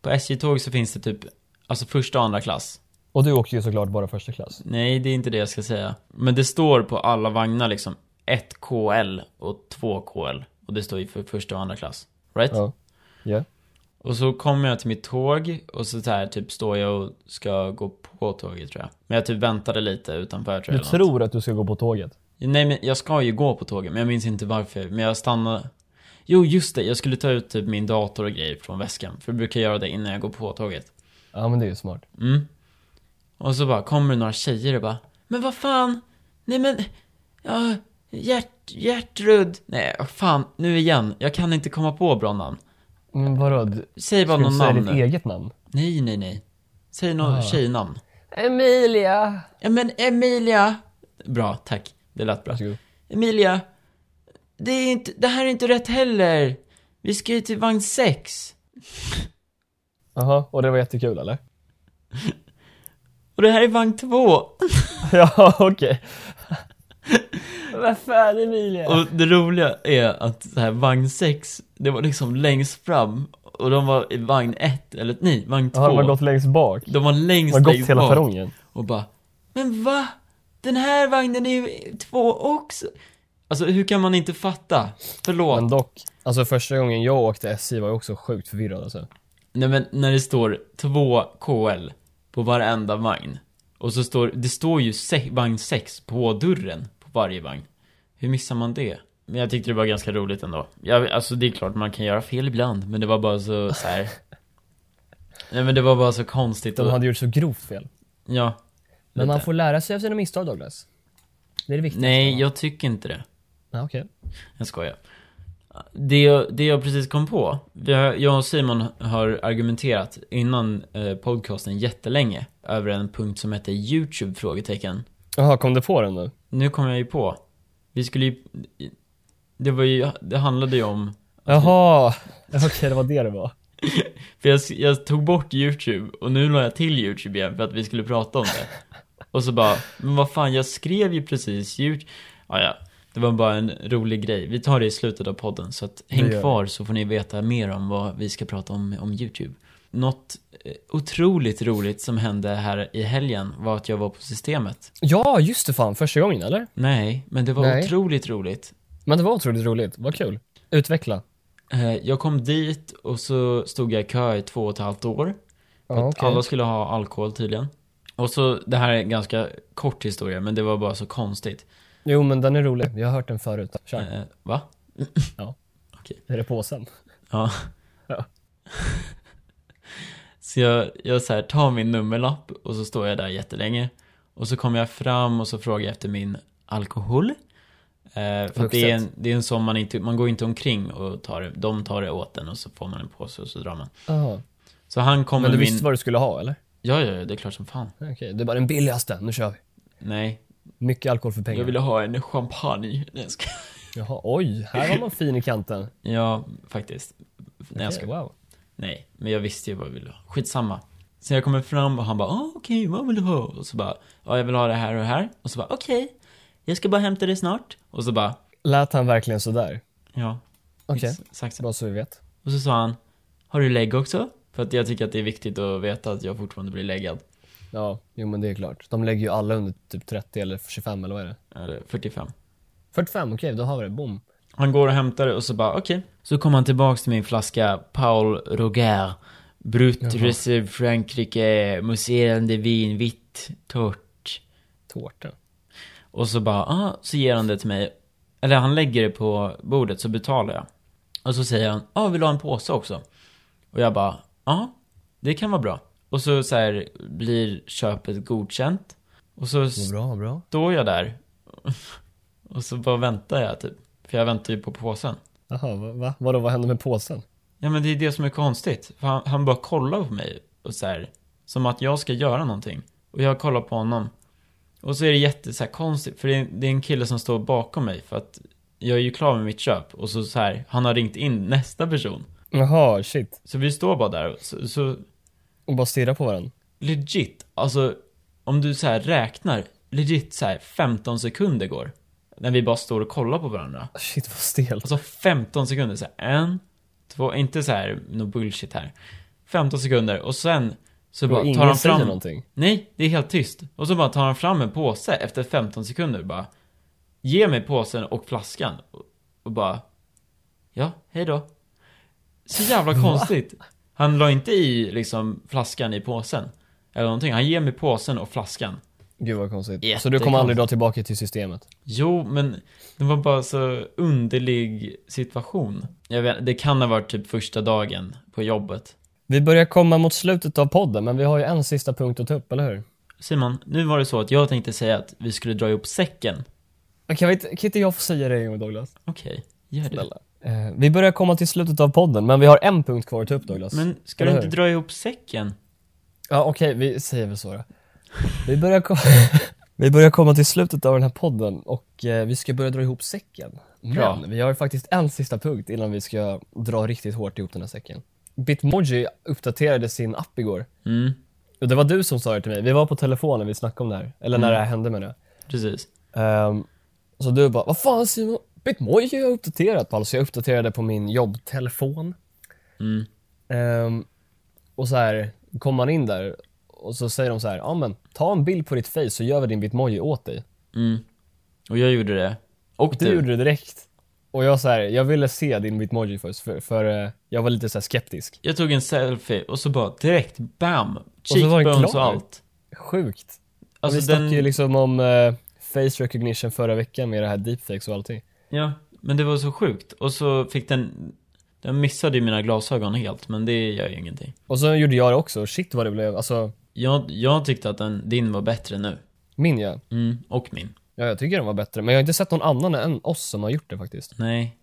Speaker 1: På SJ-tåg så finns det typ, alltså första och andra klass.
Speaker 2: Och du åkte ju såklart bara första klass.
Speaker 1: Nej, det är inte det jag ska säga. Men det står på alla vagnar liksom 1KL och 2KL. Och det står ju för första och andra klass. Right?
Speaker 2: Ja. Ja.
Speaker 1: Och så kommer jag till mitt tåg och så, så här, typ står jag och ska gå på tåget tror jag. Men jag typ väntade lite utanför tror
Speaker 2: Du
Speaker 1: jag. eller något.
Speaker 2: tror att du ska gå på tåget.
Speaker 1: Nej men jag ska ju gå på tåget, men jag minns inte varför. Men jag stannade. Jo, just det. Jag skulle ta ut typ min dator och grejer från väskan. För jag brukar göra det innan jag går på tåget.
Speaker 2: Ja, men det är ju smart.
Speaker 1: Mm. Och så bara kommer det några tjejer och bara Men vad fan? Nej men, ja, Gert, Gertrud. Nej, vad fan, nu igen. Jag kan inte komma på bra namn.
Speaker 2: Men vadå? Du-
Speaker 1: Säg bara
Speaker 2: Ska du
Speaker 1: någon
Speaker 2: säga
Speaker 1: namn.
Speaker 2: ditt eget namn?
Speaker 1: Nej, nej, nej. Säg något
Speaker 2: Ah.
Speaker 1: tjejnamn.
Speaker 2: Emilia!
Speaker 1: Ja men Emilia. Bra, tack. Det lät bra.
Speaker 2: Varsågod.
Speaker 1: Emilia, det, är inte, det här är inte rätt heller. Vi ska ju till vagn 6.
Speaker 2: Jaha, och det var jättekul eller?
Speaker 1: Och det här är vagn 2.
Speaker 2: ja, okej. Vad fan Emilia?
Speaker 1: Och det roliga är att så här, vagn 6, det var liksom längst fram. Och de var i vagn 1, eller nej, vagn 2.
Speaker 2: Har man gått längst bak?
Speaker 1: De var längst,
Speaker 2: Man har gått
Speaker 1: längst
Speaker 2: hela
Speaker 1: bak.
Speaker 2: perrongen?
Speaker 1: Och bara, men va? Den här vagnen är ju två också. Alltså hur kan man inte fatta? Förlåt.
Speaker 2: Men dock, alltså första gången jag åkte SJ var jag också sjukt förvirrad alltså.
Speaker 1: Nej men när det står 2 KL på varenda vagn. Och så står, det står ju se, vagn 6 på dörren på varje vagn. Hur missar man det? Men jag tyckte det var ganska roligt ändå. Jag, alltså det är klart man kan göra fel ibland, men det var bara så, så här. Nej men det var bara så konstigt
Speaker 2: De
Speaker 1: och,
Speaker 2: hade gjort så grovt fel.
Speaker 1: ja.
Speaker 2: Men man
Speaker 1: lite.
Speaker 2: får lära sig av sina misstag Douglas. Det är det viktigaste.
Speaker 1: Nej, jag tycker inte det.
Speaker 2: Ja, okej.
Speaker 1: Jag skojar. Det jag, det jag precis kom på, vi har- jag och Simon har argumenterat innan eh, podcasten jättelänge över en punkt som heter YouTube? frågetecken.
Speaker 2: Jaha, kom du på den nu?
Speaker 1: Nu kom jag ju på. Vi skulle ju... Det var ju, det handlade ju om...
Speaker 2: Jaha! Okej, det var det det var.
Speaker 1: För jag, jag tog bort YouTube och nu la jag till YouTube igen för att vi skulle prata om det. Och så bara, men vad fan jag skrev ju precis YouTube. Ah, ja, det var bara en rolig grej. Vi tar det i slutet av podden så att
Speaker 2: gör
Speaker 1: häng
Speaker 2: vi.
Speaker 1: kvar så får ni veta mer om vad vi ska prata om, om YouTube. Något eh, otroligt roligt som hände här i helgen var att jag var på systemet.
Speaker 2: Ja, just det fan, första gången eller?
Speaker 1: Nej, men det var
Speaker 2: Nej.
Speaker 1: otroligt roligt.
Speaker 2: Men det var otroligt roligt, vad kul. Utveckla.
Speaker 1: Eh, Jag kom dit och så stod jag i kö i två och ett halvt år. För
Speaker 2: Ja,
Speaker 1: att
Speaker 2: okej.
Speaker 1: Alla skulle ha alkohol tydligen. Och så, det här är en ganska kort historia, men det var bara så konstigt.
Speaker 2: Jo, men den är rolig. Jag har hört den förut. Kör.
Speaker 1: Eh, va?
Speaker 2: Är det påsen?
Speaker 1: Ja.
Speaker 2: Ja.
Speaker 1: så jag, jag så här, tar min nummerlapp och så står jag där jättelänge. Och så kommer jag fram och så frågar jag efter min alkohol. Eh, för att det, är en, det är en sån man inte, man går inte omkring och tar det. De tar det åt en och så får man en påse och så drar man.
Speaker 2: Jaha.
Speaker 1: Så han kommer
Speaker 2: Men du
Speaker 1: med min...
Speaker 2: visste vad du skulle ha eller?
Speaker 1: Ja, ja, ja, det är klart som fan.
Speaker 2: Okej, det är bara den billigaste, nu kör vi.
Speaker 1: Nej,
Speaker 2: Mycket alkohol för pengar.
Speaker 1: jag ville ha en champagne. Nej, jag ska...
Speaker 2: Jaha, oj, här var man fin i kanten.
Speaker 1: Ja, faktiskt. Nej, jag
Speaker 2: Okej,
Speaker 1: ska...
Speaker 2: Wow.
Speaker 1: Nej, men jag visste ju vad jag ville ha. Skitsamma. Så jag kommer fram och han bara, ah, okej, vad vill du ha? Och så bara, ja, jag vill ha det här och det här. Och så bara, okej, jag ska bara hämta det snart. Och så bara,
Speaker 2: Lät han verkligen sådär?
Speaker 1: ja,
Speaker 2: Okej,
Speaker 1: exakt så.
Speaker 2: bara så vi vet.
Speaker 1: Och så sa han, har du lägg också? För att jag tycker att det är viktigt att veta att jag fortfarande blir läggad.
Speaker 2: Ja, jo men det är klart. De lägger ju alla under typ 30 eller 25 eller vad är det?
Speaker 1: Eller 45.
Speaker 2: 45, okej då har vi det. Boom.
Speaker 1: Han går och hämtar det och så bara okej. Så kom han tillbaks till min flaska Paul Roger. Brut
Speaker 2: Jaha.
Speaker 1: Reserve Frankrike, mousserande vin, vitt, torrt.
Speaker 2: Tårta.
Speaker 1: Och så bara, ah, så ger han det till mig. Eller han lägger det på bordet så betalar jag. Och så säger han, ah, vill du ha en påse också? Och jag bara, ja, ah, det kan vara bra. Och så, så här, blir köpet godkänt. Och så
Speaker 2: Bra, bra.
Speaker 1: står jag där. Och så bara väntar jag typ. För jag väntar ju på påsen.
Speaker 2: Jaha, va, va? Vadå, vad hände med påsen?
Speaker 1: Ja men det är det som är konstigt. För han, han bara kollar på mig och så här, som att jag ska göra någonting. Och jag kollar på honom. Och så är det jätte så här, konstigt, för det är, det är en kille som står bakom mig för att jag är ju klar med mitt köp. Och så, så här, han har ringt in nästa person.
Speaker 2: Jaha, shit.
Speaker 1: Så vi står bara där och så, så
Speaker 2: Och bara stirra på varandra.
Speaker 1: legit, alltså om du så här räknar, legit så här 15 sekunder går. När vi bara står och kollar på varandra.
Speaker 2: Shit vad stelt.
Speaker 1: Alltså 15 sekunder, så här, en, två, inte så här något bullshit här. 15 sekunder och sen så
Speaker 2: Och
Speaker 1: bara
Speaker 2: ingen
Speaker 1: tar han
Speaker 2: säger
Speaker 1: fram...
Speaker 2: någonting.
Speaker 1: Nej, det är helt tyst. Och så bara tar han fram en påse efter 15 sekunder bara. Ge mig påsen och flaskan. Och, och bara, ja, hej då. Så jävla konstigt. Han la inte i liksom flaskan i påsen. Eller någonting. Han ger mig påsen och flaskan.
Speaker 2: Gud vad konstigt. Så du
Speaker 1: Jättekonstigt.
Speaker 2: kommer aldrig dra tillbaka till systemet?
Speaker 1: Jo, men det var bara så underlig situation. Jag vet, det kan ha varit typ första dagen på jobbet.
Speaker 2: Vi börjar komma mot slutet av podden, men vi har ju en sista punkt att ta upp, eller hur?
Speaker 1: Simon, nu var det så att jag tänkte säga att vi skulle dra ihop säcken.
Speaker 2: Kan, vi, inte- kan inte jag få säga det en gång Douglas?
Speaker 1: Okej, gör det.
Speaker 2: Snälla. Eh, vi börjar komma till slutet av podden, men vi har en punkt kvar att ta upp Douglas.
Speaker 1: Men ska du
Speaker 2: Eller
Speaker 1: inte
Speaker 2: hur?
Speaker 1: dra ihop säcken?
Speaker 2: Ja okej, vi säger väl så då. Vi börjar, ko- vi börjar komma till slutet av den här podden och eh, vi ska börja dra ihop säcken. Men
Speaker 1: Bra.
Speaker 2: vi har faktiskt en sista punkt innan vi ska dra riktigt hårt ihop den här säcken. Bitmoji uppdaterade sin app igår.
Speaker 1: Mm,
Speaker 2: Och det var du som sa det till mig. Vi var på telefonen när vi snackade om det här. Eller när
Speaker 1: Mm.
Speaker 2: det här hände med det.
Speaker 1: precis.
Speaker 2: Ehm, så du bara, vad fan Simon, Bitmoji har jag uppdaterat på. Alltså jag uppdaterade på min jobbtelefon.
Speaker 1: Mm.
Speaker 2: Ehm, och så här kommer man in där och så säger de så här, ja men ta en bild på ditt face så gör vi din Bitmoji åt dig.
Speaker 1: Mm. Och jag gjorde det. Och
Speaker 2: Du
Speaker 1: du.
Speaker 2: gjorde det direkt. Och jag så här, jag ville se din Bitmoji först för, för eh, jag var lite så här skeptisk.
Speaker 1: Jag tog en selfie och så bara direkt, bam!
Speaker 2: så var den
Speaker 1: Cheekbones
Speaker 2: klar.
Speaker 1: och allt.
Speaker 2: Sjukt.
Speaker 1: Alltså
Speaker 2: vi
Speaker 1: den,
Speaker 2: snackade ju liksom om eh, face recognition förra veckan med det här deepfakes och allting.
Speaker 1: ja, men det var så sjukt. Och så fick den, den missade ju mina glasögon helt, men det gör ju ingenting.
Speaker 2: Och så gjorde jag det också, shit vad det blev, alltså
Speaker 1: Jag, jag tyckte att den, din var bättre nu.
Speaker 2: min ja.
Speaker 1: Mm, och min.
Speaker 2: Ja, jag tycker den var bättre, men jag har inte sett någon annan än oss som har gjort det faktiskt.
Speaker 1: Nej.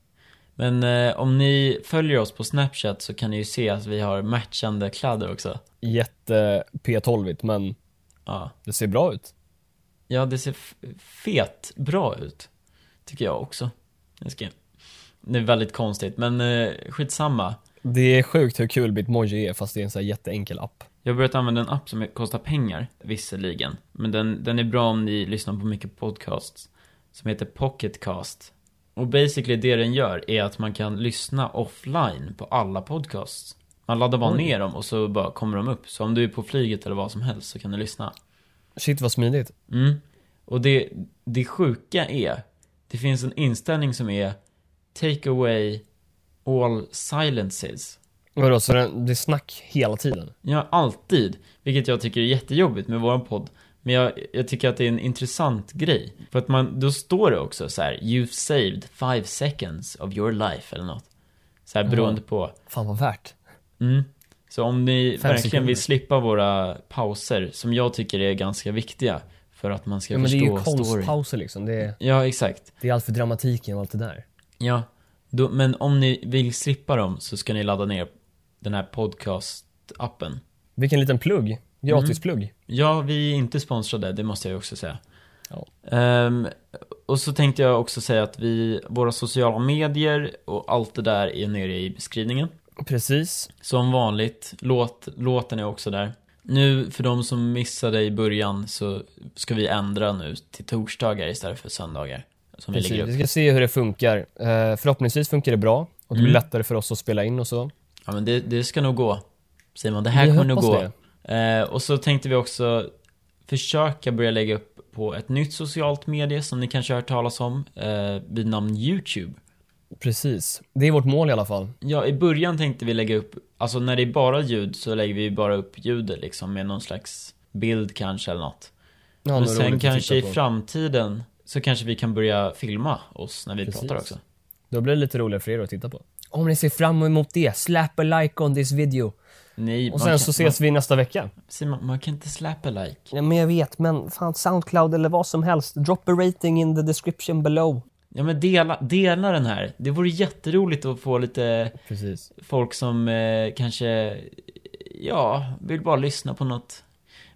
Speaker 1: Men eh, om ni följer oss på Snapchat så kan ni ju se att vi har matchande kläder också.
Speaker 2: Jätte P12-igt, men
Speaker 1: Ja,
Speaker 2: det ser bra ut.
Speaker 1: ja det ser f- fet bra ut. Tycker jag också. Jag ska... Det är väldigt konstigt, men eh, skitsamma.
Speaker 2: Det är sjukt hur kul Bitmoji är fast det är en så här jätteenkel app.
Speaker 1: Jag har börjat använda en app som kostar pengar, visserligen. Men den, den är bra om ni lyssnar på mycket podcasts. Som heter Pocketcast. Och basically det den gör är att man kan lyssna offline på alla podcasts. Man laddar bara
Speaker 2: Oj.
Speaker 1: ner dem och så bara kommer de upp. Så om du är på flyget eller vad som helst så kan du lyssna.
Speaker 2: Shit vad smidigt.
Speaker 1: Mm. Och det, det sjuka är, det finns en inställning som är Take away all silences.
Speaker 2: Vadå, så den, det är snack hela tiden?
Speaker 1: Ja, alltid. Vilket jag tycker är jättejobbigt med våran podd. Men jag, jag tycker att det är en intressant grej. För att man, då står det också så här: You've saved five seconds of your life eller något. Så här beroende på.
Speaker 2: Fan vad värt.
Speaker 1: Mm. Så om ni
Speaker 2: Fem
Speaker 1: verkligen
Speaker 2: sekunder.
Speaker 1: vill slippa våra pauser, som jag tycker är ganska viktiga för att man ska
Speaker 2: Ja, men det är ju
Speaker 1: förstå storyn.
Speaker 2: konstpauser liksom, det är,
Speaker 1: Ja, exakt.
Speaker 2: det är allt för dramatiken och allt det där.
Speaker 1: Ja. Då, men om ni vill slippa dem så ska ni ladda ner den här podcast-appen.
Speaker 2: Vilken liten plugg. Gratisplugg.
Speaker 1: Ja, vi är inte sponsrade, det måste jag ju också säga.
Speaker 2: Ja.
Speaker 1: Ehm, och så tänkte jag också säga att vi, våra sociala medier och allt det där är nere i beskrivningen.
Speaker 2: Precis.
Speaker 1: Som vanligt, låt, låten är också där. Nu, för de som missade i början, så ska vi ändra nu till torsdagar istället för söndagar. Som vi
Speaker 2: Precis.
Speaker 1: lägger
Speaker 2: Vi
Speaker 1: upp.
Speaker 2: ska se hur det funkar. Eh, förhoppningsvis funkar det bra och det blir
Speaker 1: Mm.
Speaker 2: lättare för oss att spela in och så.
Speaker 1: Ja men det, det ska nog gå. Simon, det här
Speaker 2: Vi
Speaker 1: kommer nog
Speaker 2: hoppas
Speaker 1: gå. Eh, och så tänkte vi också försöka börja lägga upp på ett nytt socialt medie som ni kanske har hört talas om, eh, vid namn YouTube.
Speaker 2: Precis. Det är vårt mål i alla fall.
Speaker 1: Ja, i början tänkte vi lägga upp, alltså när det är bara ljud så lägger vi bara upp ljudet liksom med någon slags bild kanske eller något.
Speaker 2: Ja,
Speaker 1: Men
Speaker 2: något roligt
Speaker 1: sen
Speaker 2: att
Speaker 1: kanske i
Speaker 2: titta på.
Speaker 1: framtiden så kanske vi kan börja filma oss när vi
Speaker 2: Precis.
Speaker 1: pratar också.
Speaker 2: Då blir det lite roligare för er att titta på. Om ni ser fram emot det, slap a like on this video.
Speaker 1: Nej,
Speaker 2: Och
Speaker 1: man
Speaker 2: sen
Speaker 1: kan,
Speaker 2: så ses vi nästa vecka.
Speaker 1: man, Simon, man kan inte släppa like.
Speaker 2: Ja, men jag vet, men fan Soundcloud eller vad som helst. Drop a rating in the description below.
Speaker 1: Ja men dela, dela den här. Det vore jätteroligt att få lite
Speaker 2: Precis.
Speaker 1: folk som eh, kanske, ja, vill bara lyssna på något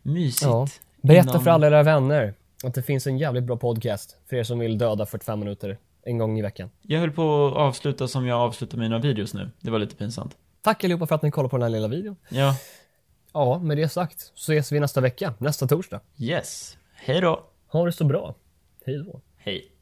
Speaker 1: mysigt.
Speaker 2: Ja. Berätta
Speaker 1: innan-
Speaker 2: för alla era vänner att det finns en jävligt bra podcast för er som vill döda 45 minuter en gång i veckan.
Speaker 1: Jag höll på att avsluta som jag avslutar mina videos nu. Det var lite pinsamt.
Speaker 2: Tack allihopa för att ni kollade på den här lilla videon.
Speaker 1: Ja,
Speaker 2: Ja, med det sagt så ses vi nästa vecka, nästa torsdag.
Speaker 1: yes. Hej då.
Speaker 2: Ha det så bra. Hej då.
Speaker 1: Hej.